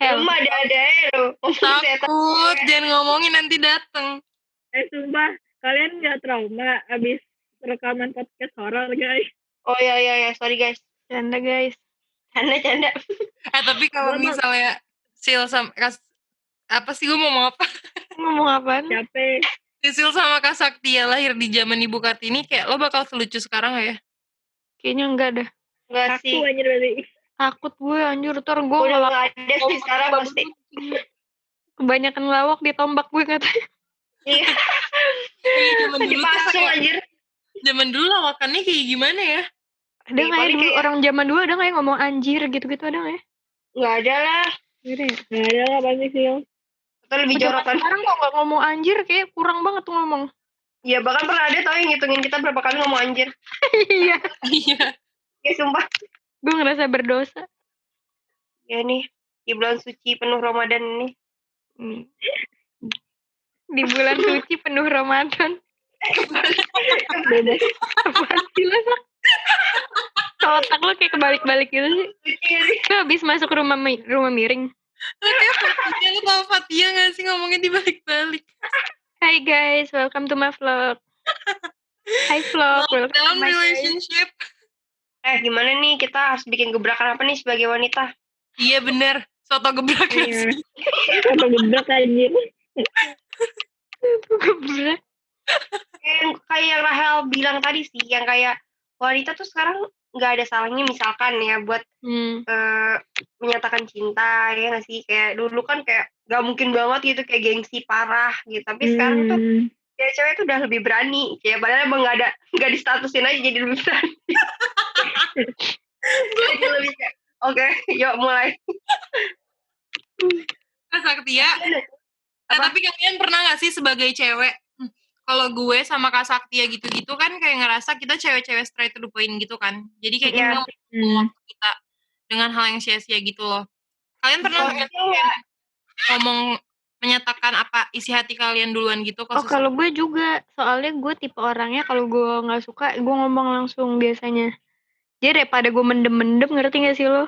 Speaker 4: Hel.
Speaker 6: rumah ada ada ya lo Ngomong setan.
Speaker 3: Takut, jangan ngomongin nanti dateng.
Speaker 5: Eh sumpah, kalian nggak trauma abis rekaman podcast horor guys.
Speaker 6: oh ya ya ya sorry guys
Speaker 4: Canda guys.
Speaker 6: canda canda
Speaker 3: Eh tapi kalau
Speaker 5: Bener.
Speaker 3: misalnya Sil sama Kas, apa sih gue mau ngomong apa?
Speaker 4: Ngomong apaan?
Speaker 5: Capek.
Speaker 3: Sil sama Kak Saktia lahir di zaman Ibu Kartini kayak lo bakal selucu sekarang nggak ya?
Speaker 4: Kayaknya enggak dah.
Speaker 6: enggak
Speaker 5: Aku
Speaker 6: sih
Speaker 5: anjir berarti.
Speaker 4: Takut gue anjur. Ntar gue
Speaker 6: udah
Speaker 4: malah
Speaker 6: nggak ada sih sekarang pasti
Speaker 4: kebanyakan lawak ditombak gue katanya.
Speaker 6: iya
Speaker 3: Iya, zaman dulu tuh
Speaker 6: dipasung
Speaker 3: kayak-
Speaker 6: anjir
Speaker 3: zaman dulu lawakannya kayak gimana ya?
Speaker 4: Ada nggak
Speaker 6: Iya,
Speaker 4: ya
Speaker 6: paling
Speaker 4: dulu
Speaker 6: kayak-
Speaker 4: orang zaman dulu ada nggak ya ngomong anjir gitu-gitu ada nggak ya?
Speaker 6: nggak ada lah
Speaker 4: Nggak ada ya?
Speaker 5: Nggak ada lah pasti sih. Hel.
Speaker 6: atau lebih
Speaker 4: Zaman
Speaker 6: jorokan
Speaker 4: Sekarang kok nggak ngomong anjir kayak kurang banget tuh ngomong.
Speaker 6: ya bahkan pernah ada tau yang ngitungin kita berapa kali ngomong anjir
Speaker 4: Iya.
Speaker 3: Iya.
Speaker 6: ya sumpah
Speaker 4: gue ngerasa berdosa.
Speaker 6: ya nih di bulan suci penuh Ramadan ini
Speaker 4: Hmm. Di bulan suci penuh Ramadan. Apaan sih lo, Sak? Kalau otak lo kayak kebalik-balik gitu sih.
Speaker 6: suci ya sih
Speaker 4: Gue habis masuk rumah mi- rumah miring.
Speaker 3: Lo kayak Fatia, lo tau Fatia gak sih ngomongnya dibalik-balik?
Speaker 4: Hai guys, welcome to my vlog. Hai vlog, welcome to
Speaker 3: Dalam
Speaker 4: my guys.
Speaker 3: relationship.
Speaker 6: eh gimana nih kita harus bikin gebrakan apa nih sebagai wanita
Speaker 3: Iya bener. Soto gebrak gak
Speaker 5: Iya.
Speaker 3: sih?
Speaker 5: Atau gebrak anjir.
Speaker 4: Gebrak.
Speaker 6: yang kayak Rahel bilang tadi sih yang kayak wanita tuh sekarang nggak ada salahnya misalkan ya buat
Speaker 4: Hmm.
Speaker 6: eh, menyatakan cinta ya nggak sih kayak dulu kan kayak nggak mungkin banget gitu kayak gengsi parah gitu tapi sekarang tuh
Speaker 5: Hmm.
Speaker 6: ya cewek tuh udah lebih berani kayak padahal emang nggak ada nggak distatusin aja jadi lebih berani Jadi lebih kayak, oke yuk mulai
Speaker 3: Mas Saktia. Nah, ya? tapi kalian pernah gak sih sebagai cewek, hmm, kalau gue sama Kak Saktia gitu-gitu kan kayak ngerasa kita cewek-cewek straight to the point gitu kan. Jadi kayak
Speaker 6: Iya.
Speaker 3: kita membuang waktu kita dengan hal yang sia-sia gitu loh. Kalian pernah
Speaker 6: Kalau
Speaker 3: nggak
Speaker 6: cewek.
Speaker 3: ngomong menyatakan apa isi hati kalian duluan gitu ke
Speaker 4: Oh
Speaker 3: seseorang?
Speaker 4: kalau gue juga, soalnya gue tipe orangnya kalau gue nggak suka, gue ngomong langsung biasanya. Jadi daripada gue mendem-mendem, ngerti gak sih lo?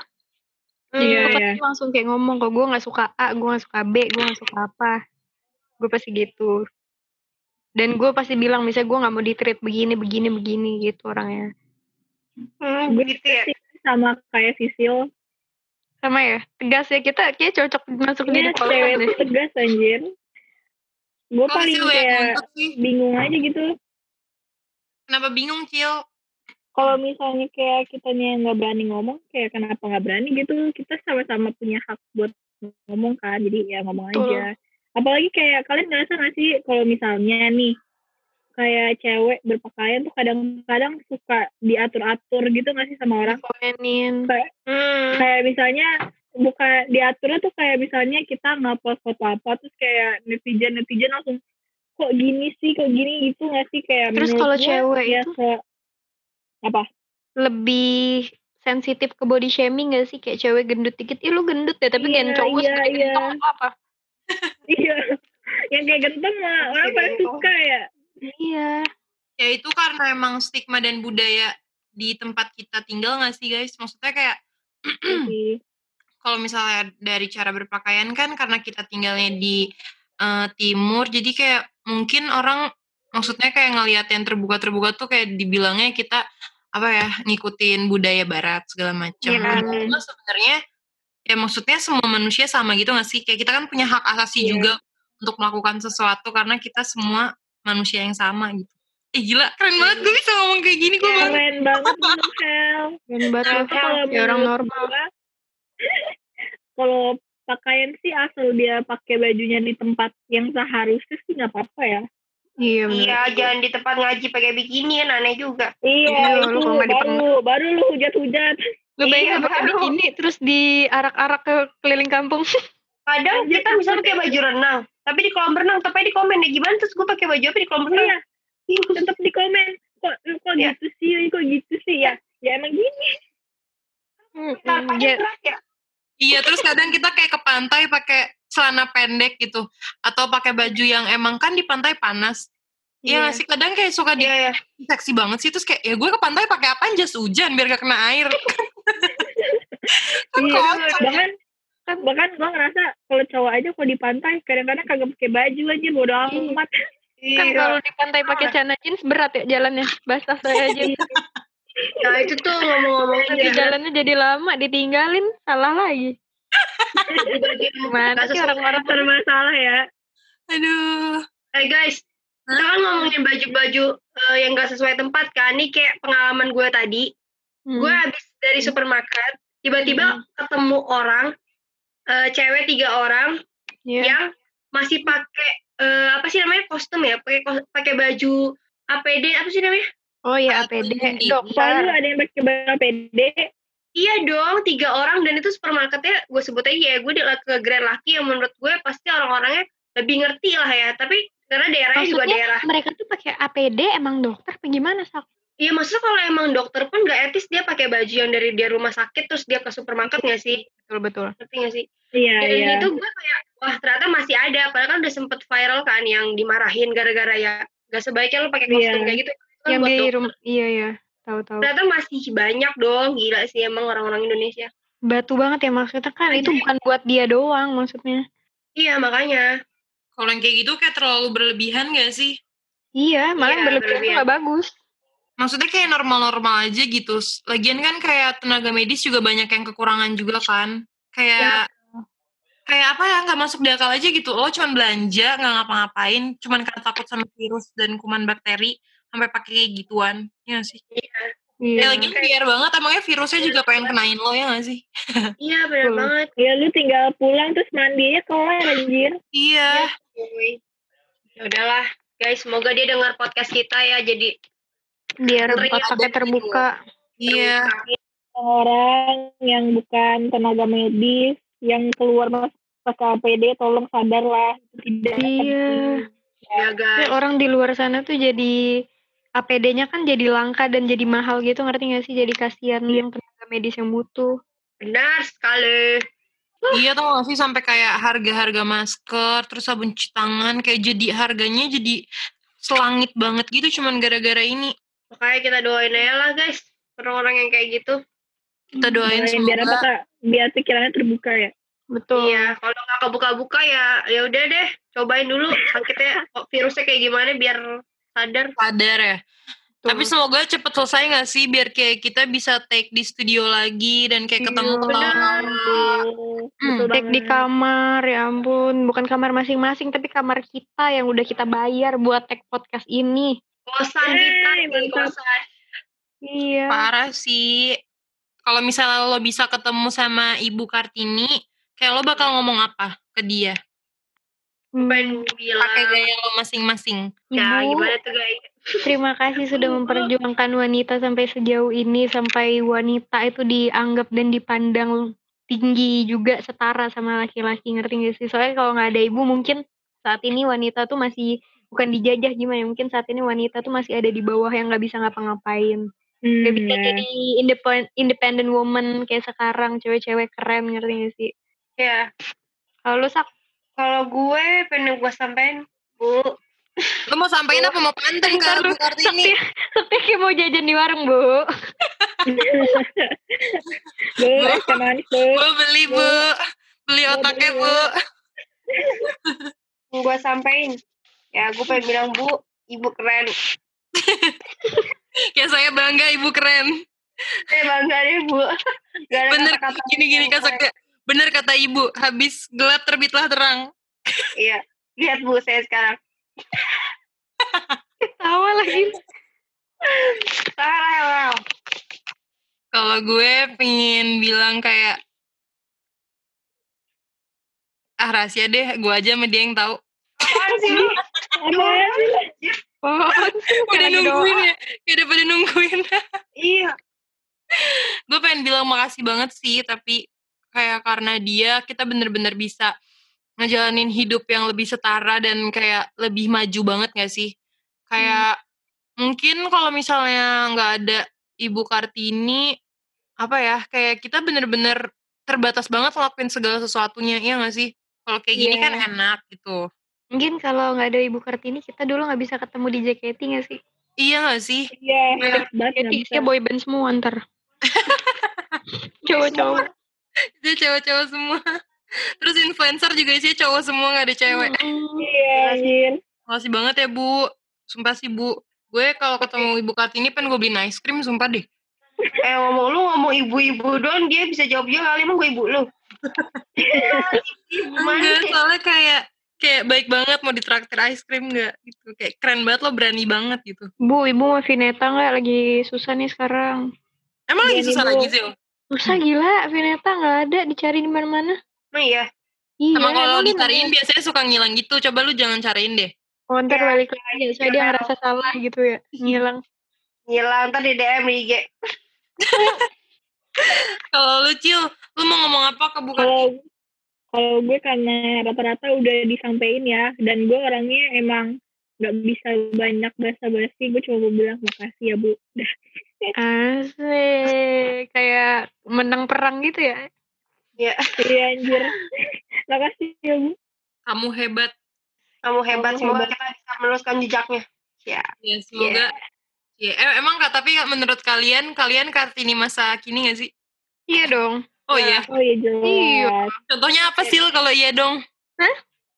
Speaker 5: Iya,
Speaker 4: Gue
Speaker 5: iya.
Speaker 4: pasti langsung kayak ngomong, kalau gue nggak suka A, gue nggak suka B, gue nggak suka apa. Gue pasti gitu. Dan gue pasti bilang, misalnya gue nggak mau ditreat begini, begini, begini gitu orangnya.
Speaker 6: Hmm,
Speaker 5: Gue
Speaker 6: gitu ya.
Speaker 5: sama kayak Sisil.
Speaker 4: Sama ya, tegas ya, kita kayak cocok masuk
Speaker 5: Ini
Speaker 4: jadi podcast deh.
Speaker 5: Iya, cewek tegas anjir. Gue
Speaker 6: Oh,
Speaker 3: Kok
Speaker 5: paling
Speaker 3: sih lo
Speaker 6: ya?
Speaker 3: yang
Speaker 5: kayak
Speaker 3: nuntut sih?
Speaker 5: bingung aja gitu.
Speaker 3: Kenapa bingung, Cil?
Speaker 5: kalau misalnya kayak kitanya yang nggak berani ngomong kayak kenapa nggak berani gitu kita sama-sama punya hak buat ngomong kan jadi ya ngomong
Speaker 4: Betul.
Speaker 5: aja apalagi kayak kalian ngerasa nggak sih kalau misalnya nih kayak cewek berpakaian tuh kadang-kadang suka diatur-atur gitu nggak sih sama orang
Speaker 4: Komenin.
Speaker 6: Hmm.
Speaker 5: kayak misalnya bukan diaturnya tuh kayak misalnya kita nggak post foto apa terus kayak netizen netizen langsung kok gini sih kok gini gitu nggak sih kayak
Speaker 4: Terus
Speaker 5: menurut
Speaker 4: kalau
Speaker 5: gua
Speaker 4: cewek
Speaker 5: ya
Speaker 4: itu?
Speaker 5: se- apa
Speaker 4: lebih sensitif ke body shaming gak sih kayak cewek gendut dikit ih lu gendut ya tapi
Speaker 5: Iya,
Speaker 4: gen cowok
Speaker 5: iya,
Speaker 4: sebagai
Speaker 5: iya.
Speaker 4: gentong atau apa
Speaker 5: Iya. Yang kayak genteng mah orang
Speaker 6: Oke,
Speaker 5: paling
Speaker 6: gitu.
Speaker 5: suka ya.
Speaker 4: iya
Speaker 3: Ya itu karena emang stigma dan budaya di tempat kita tinggal nggak sih guys? Maksudnya kayak
Speaker 4: Iya.
Speaker 3: kalau misalnya dari cara berpakaian kan karena kita tinggalnya di eh, timur, jadi kayak mungkin orang maksudnya kayak ngelihat yang terbuka-terbuka tuh kayak dibilangnya kita apa ya ngikutin budaya barat segala macam.
Speaker 4: Iya.
Speaker 3: Padahal sebenarnya ya maksudnya semua manusia sama gitu nggak sih? Kayak kita kan punya hak asasi juga untuk melakukan sesuatu karena kita semua manusia yang sama gitu. Eh gila, keren banget gue bisa ngomong kayak gini gue banget.
Speaker 5: Keren banget menurut Hel.
Speaker 4: gen banget lu.
Speaker 5: Nah, itu kalau
Speaker 4: kayak Ya orang
Speaker 5: menurut
Speaker 4: normal
Speaker 5: gua, Kalau pakaian sih asal dia pakai bajunya di tempat yang seharusnya sih nggak apa-apa ya.
Speaker 4: iya bener.
Speaker 6: Iya, jangan di tempat ngaji pakai bikini kan aneh juga.
Speaker 4: Iya, lu
Speaker 5: Iya, itu
Speaker 4: kalau nggak
Speaker 5: baru baru lu hujat-hujat.
Speaker 4: lu bayangin
Speaker 6: Iya,
Speaker 4: pakai
Speaker 6: baru.
Speaker 4: bikini terus diarak-arak ke keliling kampung Iya,
Speaker 6: Kadang
Speaker 5: Anjir,
Speaker 6: kita misalnya pakai baju renang, tapi di kolam renang, tapi di komen ya gimana terus gue pakai baju apa di kolam renang?
Speaker 5: Iya, tetap di komen kok kok
Speaker 6: Iya.
Speaker 5: gitu sih, kok gitu sih ya. Ya emang gini.
Speaker 6: Tanpa
Speaker 4: Iya.
Speaker 6: gerak ya.
Speaker 3: Iya, terus kadang kita kayak ke pantai pakai celana pendek gitu atau pakai baju yang emang kan di pantai panas. Iya nggak sih kadang kayak suka di
Speaker 6: Iya, iya.
Speaker 3: seksi banget sih terus kayak ya gue ke pantai pakai apa jas hujan biar gak kena air. kan
Speaker 5: Iya,
Speaker 3: kocak.
Speaker 5: bahkan kan bahkan gua ngerasa kalau cowok aja kalau di pantai kadang-kadang kagak pakai baju aja bodo amat
Speaker 4: kan
Speaker 6: Iya.
Speaker 4: kalau di pantai pakai celana jeans berat ya jalannya basah saya aja
Speaker 6: Nah, itu tuh ngomong-ngomongin
Speaker 4: nanti jalannya jadi lama ditinggalin salah lagi Gimana sih orang-orang?
Speaker 5: bermasalah ya
Speaker 3: Aduh.
Speaker 6: Hey guys, kita kan ngomongin baju-baju eh, yang gak sesuai tempat kan. Ini kayak pengalaman gue tadi.
Speaker 4: Hmm.
Speaker 6: Gue habis dari supermarket, tiba-tiba ketemu orang, eh, cewek tiga orang
Speaker 4: Iya.
Speaker 6: yang masih pakai eh, apa sih namanya kostum ya, pakai kos- pakai baju APD apa sih namanya?
Speaker 4: oh ya APD
Speaker 3: Iya.
Speaker 5: Kalau
Speaker 4: dokter
Speaker 5: ada yang pakai baju PD
Speaker 6: Iya dong, tiga orang dan itu supermarketnya gue sebut aja ya gue di- ke Grand Laki yang menurut gue pasti orang-orangnya lebih ngerti lah ya. Tapi karena daerahnya juga
Speaker 4: Maksudnya?
Speaker 6: daerah
Speaker 4: mereka tuh pakai APD emang dokter apa gimana sak
Speaker 6: Iya maksudnya kalau emang dokter pun gak etis dia pakai baju yang dari dia rumah sakit terus dia ke supermarket gak sih?
Speaker 4: betul betul
Speaker 6: Ngerti gak sih?
Speaker 5: iya
Speaker 6: Dan
Speaker 5: iya
Speaker 6: itu gue kayak gitu. wah ternyata masih ada padahal kan udah sempet viral kan yang dimarahin gara-gara ya gak sebaiknya lo pakai kostum
Speaker 5: Iya.
Speaker 6: kayak gitu. Itu Kan
Speaker 4: yang
Speaker 6: buat
Speaker 4: di
Speaker 6: dokter.
Speaker 4: rumah iya ya tahu-tahu
Speaker 6: Ternyata masih banyak dong gila sih emang orang-orang Indonesia.
Speaker 4: batu banget ya maksudnya kan itu bukan buat dia doang maksudnya
Speaker 6: Iya makanya.
Speaker 3: Kalau yang kayak gitu kayak terlalu berlebihan gak sih?
Speaker 4: iya malah
Speaker 6: Iya,
Speaker 4: yang berlebihan itu
Speaker 6: berlebihan.
Speaker 4: nggak bagus
Speaker 3: Maksudnya kayak normal-normal aja gitu. Lagian kan kayak tenaga medis juga banyak yang kekurangan juga kan. Kayak kayak apa ya nggak masuk di akal aja gitu. Lo cuman belanja nggak ngapa-ngapain, cuman karena takut sama virus dan kuman bakteri sampai pakai kayak gituan. Ya sih. Ya
Speaker 4: iya
Speaker 3: lagi biar banget emangnya virusnya juga pengen kenain lo ya gak sih?
Speaker 6: Iya benar
Speaker 4: Betul.
Speaker 6: banget.
Speaker 5: ya lu tinggal pulang terus mandinya kelar anjir
Speaker 3: Iya.
Speaker 6: Cuy. Ya udahlah guys semoga dia dengar podcast kita ya jadi
Speaker 4: biar
Speaker 6: Sering
Speaker 4: otaknya
Speaker 6: ada
Speaker 4: terbuka
Speaker 3: Iya.
Speaker 6: terbuka.
Speaker 5: orang yang bukan tenaga medis yang keluar masuk PKPD tolong sadarlah tidak
Speaker 4: Iya.
Speaker 6: Ya, guys.
Speaker 4: Kayak orang di luar sana tuh jadi APD-nya kan jadi langka dan jadi mahal gitu ngerti gak sih jadi kasihan yang tenaga medis yang butuh
Speaker 6: Benar sekali.
Speaker 3: Iya tau gak sih sampai kayak harga-harga masker, terus sabun cuci tangan kayak jadi harganya jadi selangit banget gitu cuman gara-gara ini.
Speaker 6: Makanya kita doain aja lah guys. Orang-orang yang kayak gitu.
Speaker 3: Kita doain
Speaker 5: Doain biar apa
Speaker 3: semoga
Speaker 5: Kak? biar pikirannya terbuka ya
Speaker 4: betul
Speaker 6: Iya. Kalau nggak kebuka-buka ya ya udah deh. Cobain dulu sakitnya kok virusnya kayak gimana biar sadar.
Speaker 3: sadar ya. Tapi semoga cepet selesai gak sih biar kayak kita bisa take di studio lagi dan kayak ketemu
Speaker 5: Oh,
Speaker 3: ketawa-ketawa.
Speaker 5: Betul
Speaker 4: Cek di
Speaker 5: banget.
Speaker 4: kamar ya ampun bukan kamar masing-masing tapi kamar kita yang udah kita bayar buat tag podcast ini
Speaker 6: Kosan kita
Speaker 5: Yeay,
Speaker 6: nih,
Speaker 5: mantap.
Speaker 6: kosan.
Speaker 4: iya
Speaker 3: Parah sih. Kalau misalnya lo bisa ketemu sama Ibu Kartini, kayak lo bakal ngomong apa ke dia?
Speaker 6: Ben
Speaker 5: Hmm.
Speaker 3: Pakai
Speaker 6: bilang.
Speaker 3: gaya lo masing-masing.
Speaker 6: Ya
Speaker 4: Iya, Ibu.
Speaker 6: gimana tuh guys?
Speaker 4: Terima kasih sudah memperjuangkan wanita sampai sejauh ini sampai wanita itu dianggap dan dipandang tinggi juga setara sama laki-laki ngerti gak sih? Soalnya kalau nggak ada ibu mungkin saat ini wanita tuh masih bukan dijajah gimana ya, mungkin saat ini wanita tuh masih ada di bawah yang nggak bisa ngapa-ngapain
Speaker 5: Hmm,
Speaker 4: nggak bisa
Speaker 5: ya.
Speaker 4: jadi independent independent woman kayak sekarang cewek-cewek keren ngerti gak sih?
Speaker 6: Ya.
Speaker 4: Kalau lu sak
Speaker 6: Kalau gue pengen gue sampein Bu,
Speaker 3: Lo mau sampein apa mau panteng ke
Speaker 4: Ntar lu
Speaker 3: Ibu Kartini?
Speaker 4: Sakti- Sakti kayak mau jajan di warung bu.
Speaker 5: Bu, es teh manis, Bu.
Speaker 3: Bu beli bu, beli otaknya bu.
Speaker 6: gue sampein. Ya, gue pengen bilang Bu, ibu keren.
Speaker 3: Ya saya bangga ibu keren.
Speaker 6: Eh, bangga deh, Bu. Gak ada
Speaker 3: Bener
Speaker 6: kata-kata
Speaker 3: gini-gini
Speaker 6: yang
Speaker 3: kan
Speaker 6: keren.
Speaker 3: Sakti. Bener kata ibu, habis gelap terbitlah terang.
Speaker 6: Iya. Lihat Bu saya sekarang.
Speaker 4: Tawa lagi.
Speaker 6: Salah, wow.
Speaker 3: Kalau gue pengen bilang kayak ah rahasia deh, gue aja sama dia yang tahu.
Speaker 6: Apaan sih lu?
Speaker 5: Apaan sih?
Speaker 4: Oh,
Speaker 3: Udah
Speaker 4: lagi doa.
Speaker 3: nungguin ya, ya udah pada nungguin.
Speaker 6: Iya.
Speaker 3: gue pengen bilang makasih banget sih, tapi kayak karena dia kita bener-bener bisa ngejalanin hidup yang lebih setara dan kayak lebih maju banget gak sih? Kayak mungkin kalau misalnya nggak ada Ibu Kartini, apa ya, kayak kita bener-bener terbatas banget ngelakuin segala sesuatunya, ya gak sih? Kalau kayak gini kan enak gitu.
Speaker 4: Mungkin kalau nggak ada Ibu Kartini kita dulu nggak bisa ketemu di JKT nggak sih?
Speaker 3: Iya gak sih?
Speaker 5: Iya,
Speaker 3: Iya.
Speaker 5: enak banget, nggak
Speaker 4: Jadi
Speaker 5: bisa.
Speaker 4: isinya boyband semua ntar. Cowok-cowok.
Speaker 3: Itu cewek-cewek semua. Terus influencer juga isinya cowok semua gak ada cewek.
Speaker 4: Hmm.
Speaker 3: Eh,
Speaker 4: Mm-mm.
Speaker 5: Iya, anjir.
Speaker 3: Makasih banget ya Bu. Sumpah sih Bu. Gue kalau ketemu Ibu Kartini pengen gue beliin ice cream sumpah deh.
Speaker 6: Eh, ngomong lu ngomong ibu-ibu doang, dia bisa jawab juga kali. Emang gue ibu lu? ibu mana?
Speaker 3: Enggak, soalnya kayak kayak baik banget mau ditraktir ice cream gak gitu. Kayak keren banget lo berani banget gitu.
Speaker 4: Bu, ibu mau Vineta nggak lagi susah nih sekarang?
Speaker 3: Emang lagi
Speaker 5: Iya,
Speaker 3: susah
Speaker 5: Bu.
Speaker 3: lagi sih.
Speaker 4: Susah gila, Vineta nggak ada dicari di mana-mana.
Speaker 6: Emang iya.
Speaker 4: Iya.
Speaker 3: Emang kalau
Speaker 4: emang dia
Speaker 3: dicariin biasanya suka ngilang gitu. Coba lu jangan cariin deh.
Speaker 4: nggak- Oh, ntar
Speaker 6: Iya,
Speaker 4: balik lagi. Soalnya dia ngerasa salah gitu ya. Ngilang.
Speaker 6: Gila, Iya. ntar di DM di IG.
Speaker 3: Kalau lu Cil, lu mau ngomong apa ke Bu Kartini?
Speaker 5: Kalau kalau gue karena rata-rata udah disampaikan ya, dan gue orangnya emang nggak bisa banyak basa-basi, gue cuma mau bilang makasih ya bu. Dah.
Speaker 4: Asik. Kayak menang perang gitu ya.
Speaker 5: Iya anjir, makasih ya bu.
Speaker 3: Kamu hebat.
Speaker 6: Kamu hebat,
Speaker 5: Kamu
Speaker 6: semoga
Speaker 5: hebat.
Speaker 6: kita bisa meneruskan jejaknya.
Speaker 3: Ya, semoga. Ya, em- emang kak, tapi menurut kalian, kalian Kartini masa kini gak sih?
Speaker 4: Iya dong.
Speaker 3: Oh iya,
Speaker 5: Oh iya jelas.
Speaker 4: Iya.
Speaker 3: contohnya apa sih kalau iya dong?
Speaker 4: Hah?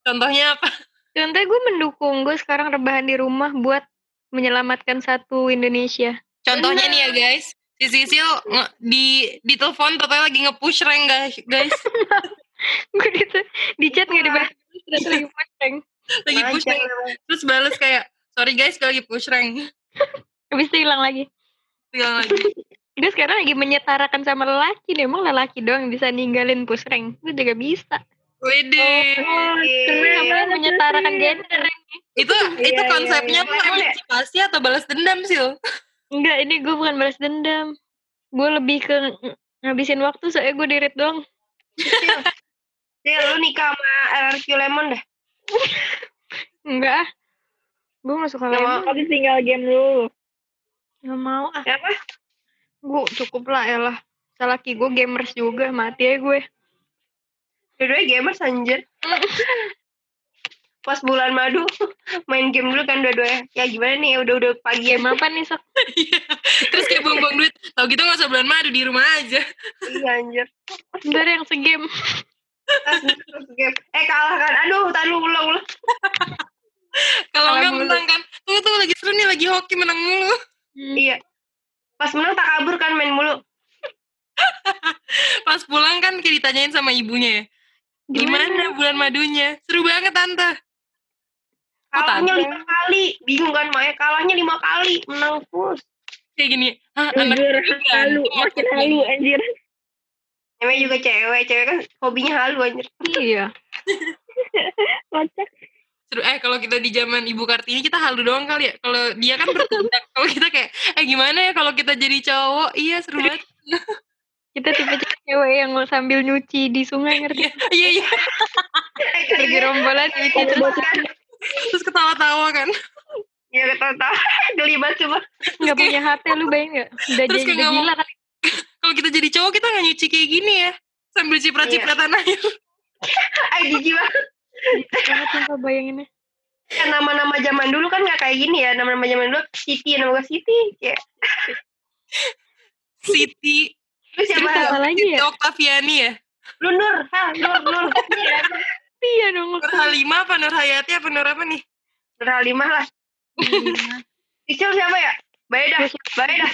Speaker 3: Contohnya apa?
Speaker 4: Contohnya gue mendukung, gue sekarang rebahan di rumah buat menyelamatkan satu Indonesia.
Speaker 3: Contohnya nih ya guys, si Sisil nge- di di telepon totalnya lagi nge-push rank guys, guys.
Speaker 4: Gue gitu, di chat gak dibahas, ternyata lagi pusing.
Speaker 3: lagi push
Speaker 6: Aja.
Speaker 3: rank. Terus balas kayak, sorry guys, gue lagi push rank.
Speaker 4: Habis itu hilang lagi.
Speaker 3: Bilang lagi.
Speaker 4: Gue sekarang lagi menyetarakan sama lelaki nih, emang lelaki doang yang bisa ninggalin push rank. Gue juga bisa.
Speaker 3: Wede.
Speaker 5: Oh,
Speaker 4: Gue
Speaker 5: keren.
Speaker 4: namanya menyetarakan gender.
Speaker 3: itu itu
Speaker 5: Iya, iya,
Speaker 3: konsepnya
Speaker 6: iya.
Speaker 3: lo emansipasi atau balas dendam Sil?
Speaker 4: Enggak, ini gue bukan balas dendam. Gue lebih ke ng- ngabisin waktu soalnya gue dirit doang.
Speaker 6: Sil, Iya, lu nikah sama LRQ Lemon dah.
Speaker 4: Enggak ah. Gue gak suka
Speaker 6: Nggak
Speaker 4: lemon.
Speaker 6: mau.
Speaker 5: Tapi tinggal game dulu.
Speaker 4: Gak mau ah.
Speaker 6: Kenapa?
Speaker 4: Gue cukup lah elah. Selaki gue gamers juga. Mati ya gue.
Speaker 6: Dua-duanya gamers anjir. Pas bulan madu, main game dulu kan dua-duanya. Ya gimana nih, udah-udah pagi
Speaker 3: Iya,
Speaker 6: ya.
Speaker 4: Game apa nih Sok?
Speaker 3: Terus kayak buang-buang duit. Kalau gitu nggak usah bulan madu di rumah aja.
Speaker 6: Iya anjir.
Speaker 4: Bentar yang segame.
Speaker 6: Terus, terus game. Eh kalah kan. Aduh, tadi ulang-ulang.
Speaker 3: Kalau
Speaker 4: Kalah
Speaker 3: nggak
Speaker 4: mulu.
Speaker 3: menang kan. Tuh tuh lagi seru nih lagi hoki menang mulu. Hmm.
Speaker 6: Iya. Pas menang tak kabur kan main
Speaker 3: Oh,
Speaker 6: mulu.
Speaker 3: Pas pulang kan kayak ditanyain sama ibunya ya. Gimana bulan madunya? Seru banget tante. Oh,
Speaker 6: Kalahnya
Speaker 3: tante.
Speaker 6: lima kali. Bingung kan Maya. Kalahnya lima kali. Menang terus.
Speaker 3: Kayak gini. "Ah, Hah, anak
Speaker 5: Jujur,
Speaker 3: ini ganteng,
Speaker 5: halu. Makin
Speaker 3: otaknya."
Speaker 5: halu, anjir.
Speaker 6: Namanya juga cewek. Cewek kan hobinya halu anjir.
Speaker 4: Iya.
Speaker 5: Kocak.
Speaker 3: Seru. Eh kalau kita di zaman Ibu Kartini kita halu doang kali ya. Kalau dia kan bertindak. kalau kita kayak eh gimana ya kalau kita jadi cowok? Iya seru banget.
Speaker 4: Kita tipe cewek yang sambil nyuci di sungai ngerti.
Speaker 3: Iya iya. iya.
Speaker 6: Eh,
Speaker 4: Lagi
Speaker 6: kayaknya-
Speaker 4: rombolan nyuci
Speaker 6: Iya,
Speaker 4: terus
Speaker 6: kan.
Speaker 3: Terus ketawa-tawa kan.
Speaker 6: Iya, ketawa. Geli banget cuma.
Speaker 4: nggak punya HP lu bayang nggak? Udah
Speaker 3: Terus
Speaker 4: jadi
Speaker 3: kayak nggak mau-
Speaker 4: gila kan?
Speaker 3: Kalau kita jadi cowok kita nggak nyuci kayak gini ya. Sambil ciprat-cipratan aja.
Speaker 6: Ay, jijik banget.
Speaker 4: Banget sumpah bayanginnya.
Speaker 6: Kan nama-nama zaman dulu kan gak kayak gini ya. Nama-nama zaman dulu. Siti. Nama gue Siti. Ya.
Speaker 3: Siti.
Speaker 6: Terus siapa?
Speaker 4: Terus apa
Speaker 6: Hel?
Speaker 4: lagi ya?
Speaker 3: Oktaviani ya?
Speaker 6: Lu Nur. Hel. Nur. Nur. Iya.
Speaker 4: Iya dong.
Speaker 3: Nur Halimah apa Nur Hayati apa Nur apa nih?
Speaker 6: Nur Halimah lah. Cicil siapa ya? Baik dah. Baik dah.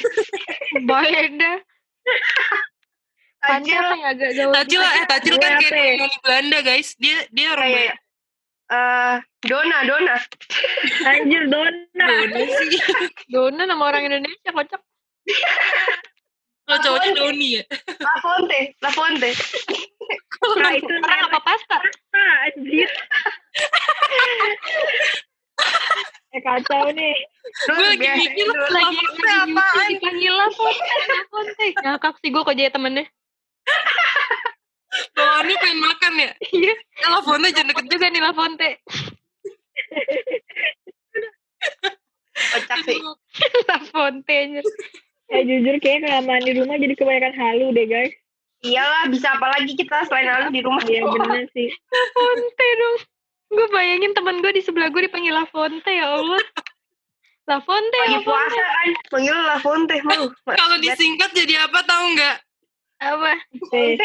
Speaker 4: Bayeda. Pantai
Speaker 6: Anjir.
Speaker 4: apa yang agak gitu jauh?
Speaker 3: Tajil lah, eh Tajil kan
Speaker 6: Gue
Speaker 3: kayak
Speaker 6: apa ya?
Speaker 3: orang Belanda guys. Dia dia orang
Speaker 6: Kayak. Eh, Dona. Dona.
Speaker 5: Anjir, Nah, dona.
Speaker 3: Belanda sih.
Speaker 4: Dona nama orang Indonesia kocak.
Speaker 3: Kalau cowoknya Doni ya.
Speaker 6: La Fonte. La Fonte.
Speaker 5: Nah, itu
Speaker 4: Orang apa pasta?
Speaker 5: nama, anjir. eh, kacau nih.
Speaker 6: Nur,
Speaker 3: Gue lagi
Speaker 6: biasa.
Speaker 3: mikir
Speaker 6: Nur.
Speaker 3: lagi apaan?
Speaker 4: Dipanggil lah Fonte. Ngakak sih gue kok jadi temennya.
Speaker 3: Bawaannya pengen makan ya.
Speaker 4: Iya.
Speaker 3: Ya Lafonte jangan deket
Speaker 4: Takut juga nih lah Fonte.
Speaker 6: Kocak sih.
Speaker 4: La Fonte anjir.
Speaker 5: Eh, jujur kayaknya kelamaan di rumah jadi kebanyakan halu deh, guys.
Speaker 6: Iyalah, bisa apa lagi kita selain Alun di rumah.
Speaker 5: Iya, bener sih.
Speaker 4: Fonte dong. Gue bayangin temen gue di sebelah gue dipanggil La Fonte ya Allah. La Fonte, La
Speaker 6: Lagi
Speaker 4: Fonte.
Speaker 6: puasa kan, panggil La Fonte. Mau.
Speaker 3: Kalau disingkat jadi apa tahu nggak?
Speaker 4: Apa?
Speaker 5: Eh,
Speaker 6: Fonte.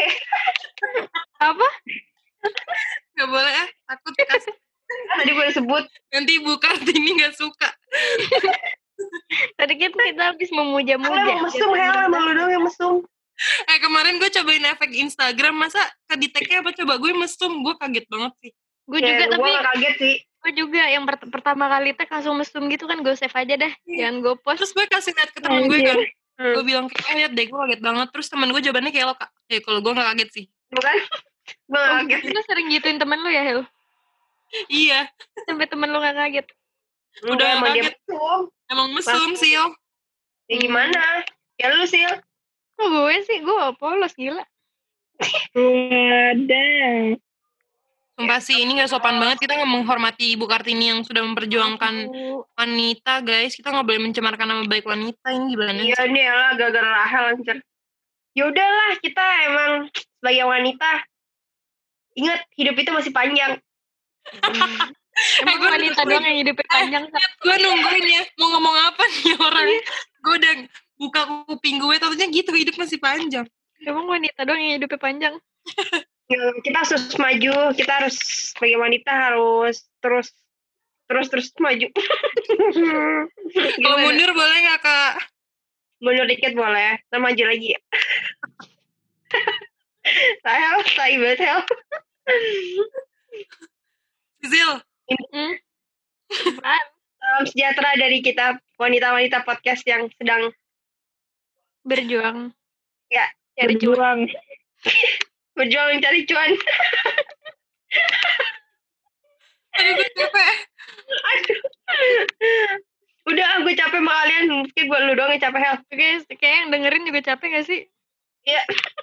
Speaker 4: Apa?
Speaker 3: Nggak boleh eh. Takut kas-
Speaker 6: Tadi gue sebut.
Speaker 3: nanti Bu Kartini nggak suka.
Speaker 4: Tadi kan kita habis
Speaker 6: Hel emang
Speaker 4: memuja-muja.
Speaker 6: mesum, Hel. Emang lu doang yang mesum.
Speaker 3: Eh kemarin gue cobain efek Instagram masa kedeteknya apa coba gue mesum gue kaget banget sih.
Speaker 4: Gue juga
Speaker 6: Ya,
Speaker 4: tapi
Speaker 6: Gue kaget sih.
Speaker 4: gue juga yang pert- pertama kali tag langsung mesum gitu kan gue save aja dah jangan gue post
Speaker 3: Terus gue kasih lihat ke temen gue kan.
Speaker 6: Hmm.
Speaker 3: Gue bilang kayak eh, lihat deh gue kaget banget. Terus temen gue jawabannya kayak lo kak. Eh kalau gue nggak kaget sih.
Speaker 6: Bukan?
Speaker 4: Oh,
Speaker 6: Gue kan? kaget sih.
Speaker 4: lu sering gituin temen lu ya Hel
Speaker 3: Iya.
Speaker 4: sampai temen lu gak kaget
Speaker 3: Udah
Speaker 6: Enggak, emang dia
Speaker 3: kaget.
Speaker 6: mesum.
Speaker 3: Emang mesum
Speaker 6: Pasti.
Speaker 3: sih yo.
Speaker 6: Ya gimana? Ya lu sih.
Speaker 4: kok gue sih gue gak polos gila
Speaker 5: wadah.
Speaker 3: Sumpah sih ini gak sopan banget kita nggak menghormati Ibu Kartini yang sudah memperjuangkan wanita guys. Kita nggak boleh mencemarkan nama baik wanita ini gimana?
Speaker 6: Iya nih lah gara-gara Rahel anjir. Ya udahlah kita emang sebagai wanita ingat hidup itu masih panjang.
Speaker 4: emang
Speaker 3: gue
Speaker 4: wanita
Speaker 3: nungguin.
Speaker 4: doang yang hidupnya panjang Sa?
Speaker 3: Gue nungguin ya mau ngomong apa nih orang. Gue udah buka kuping gue tentunya gitu hidup masih panjang.
Speaker 4: emang wanita doang yang hidupnya panjang
Speaker 6: Ya, kita harus maju, kita harus sebagai wanita harus terus terus terus maju.
Speaker 3: Kalau
Speaker 6: Gimana?
Speaker 3: mundur boleh nggak kak?
Speaker 6: mundur dikit boleh, ntar maju lagi. Rahel, tai banget Rahel.
Speaker 3: Zil,
Speaker 4: hmm?
Speaker 6: Salam sejahtera dari kita wanita-wanita podcast yang sedang
Speaker 4: berjuang
Speaker 6: Ya,
Speaker 4: cari cuan
Speaker 5: Berjuang.
Speaker 6: berjuang mencari cuan.
Speaker 3: aduh gue capek.
Speaker 6: Udah, ah, gue capek sama kalian. Mungkin gue lu doang yang capek, Hel.
Speaker 4: guys kayak yang dengerin juga capek gak sih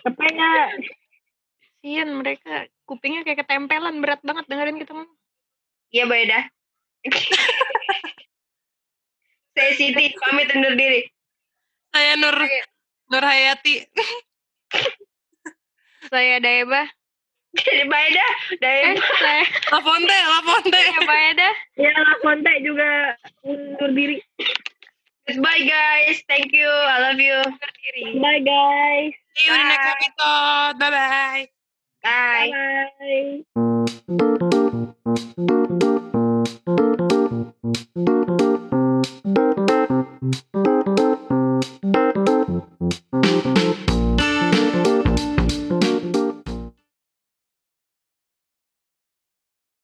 Speaker 5: Apa enggak?
Speaker 4: Sian mereka kupingnya kayak ketempelan berat banget dengerin kita ngomong.
Speaker 6: Iya, Mbak Eda. Saya Siti, pamit undur diri.
Speaker 3: Saya Nur Nur Hayati.
Speaker 4: Saya Daeba.
Speaker 6: Jadi Mbak Eda,
Speaker 4: Eh,
Speaker 6: dari
Speaker 4: saya
Speaker 3: La Fonte, La Fonte.
Speaker 4: Mbak Eda.
Speaker 5: Ya, La Fonte juga undur diri.
Speaker 6: Bye guys, thank you, I love you.
Speaker 5: Bye guys.
Speaker 3: See you in the next episode. Bye-bye.
Speaker 6: Bye.
Speaker 5: Bye.
Speaker 7: Bye.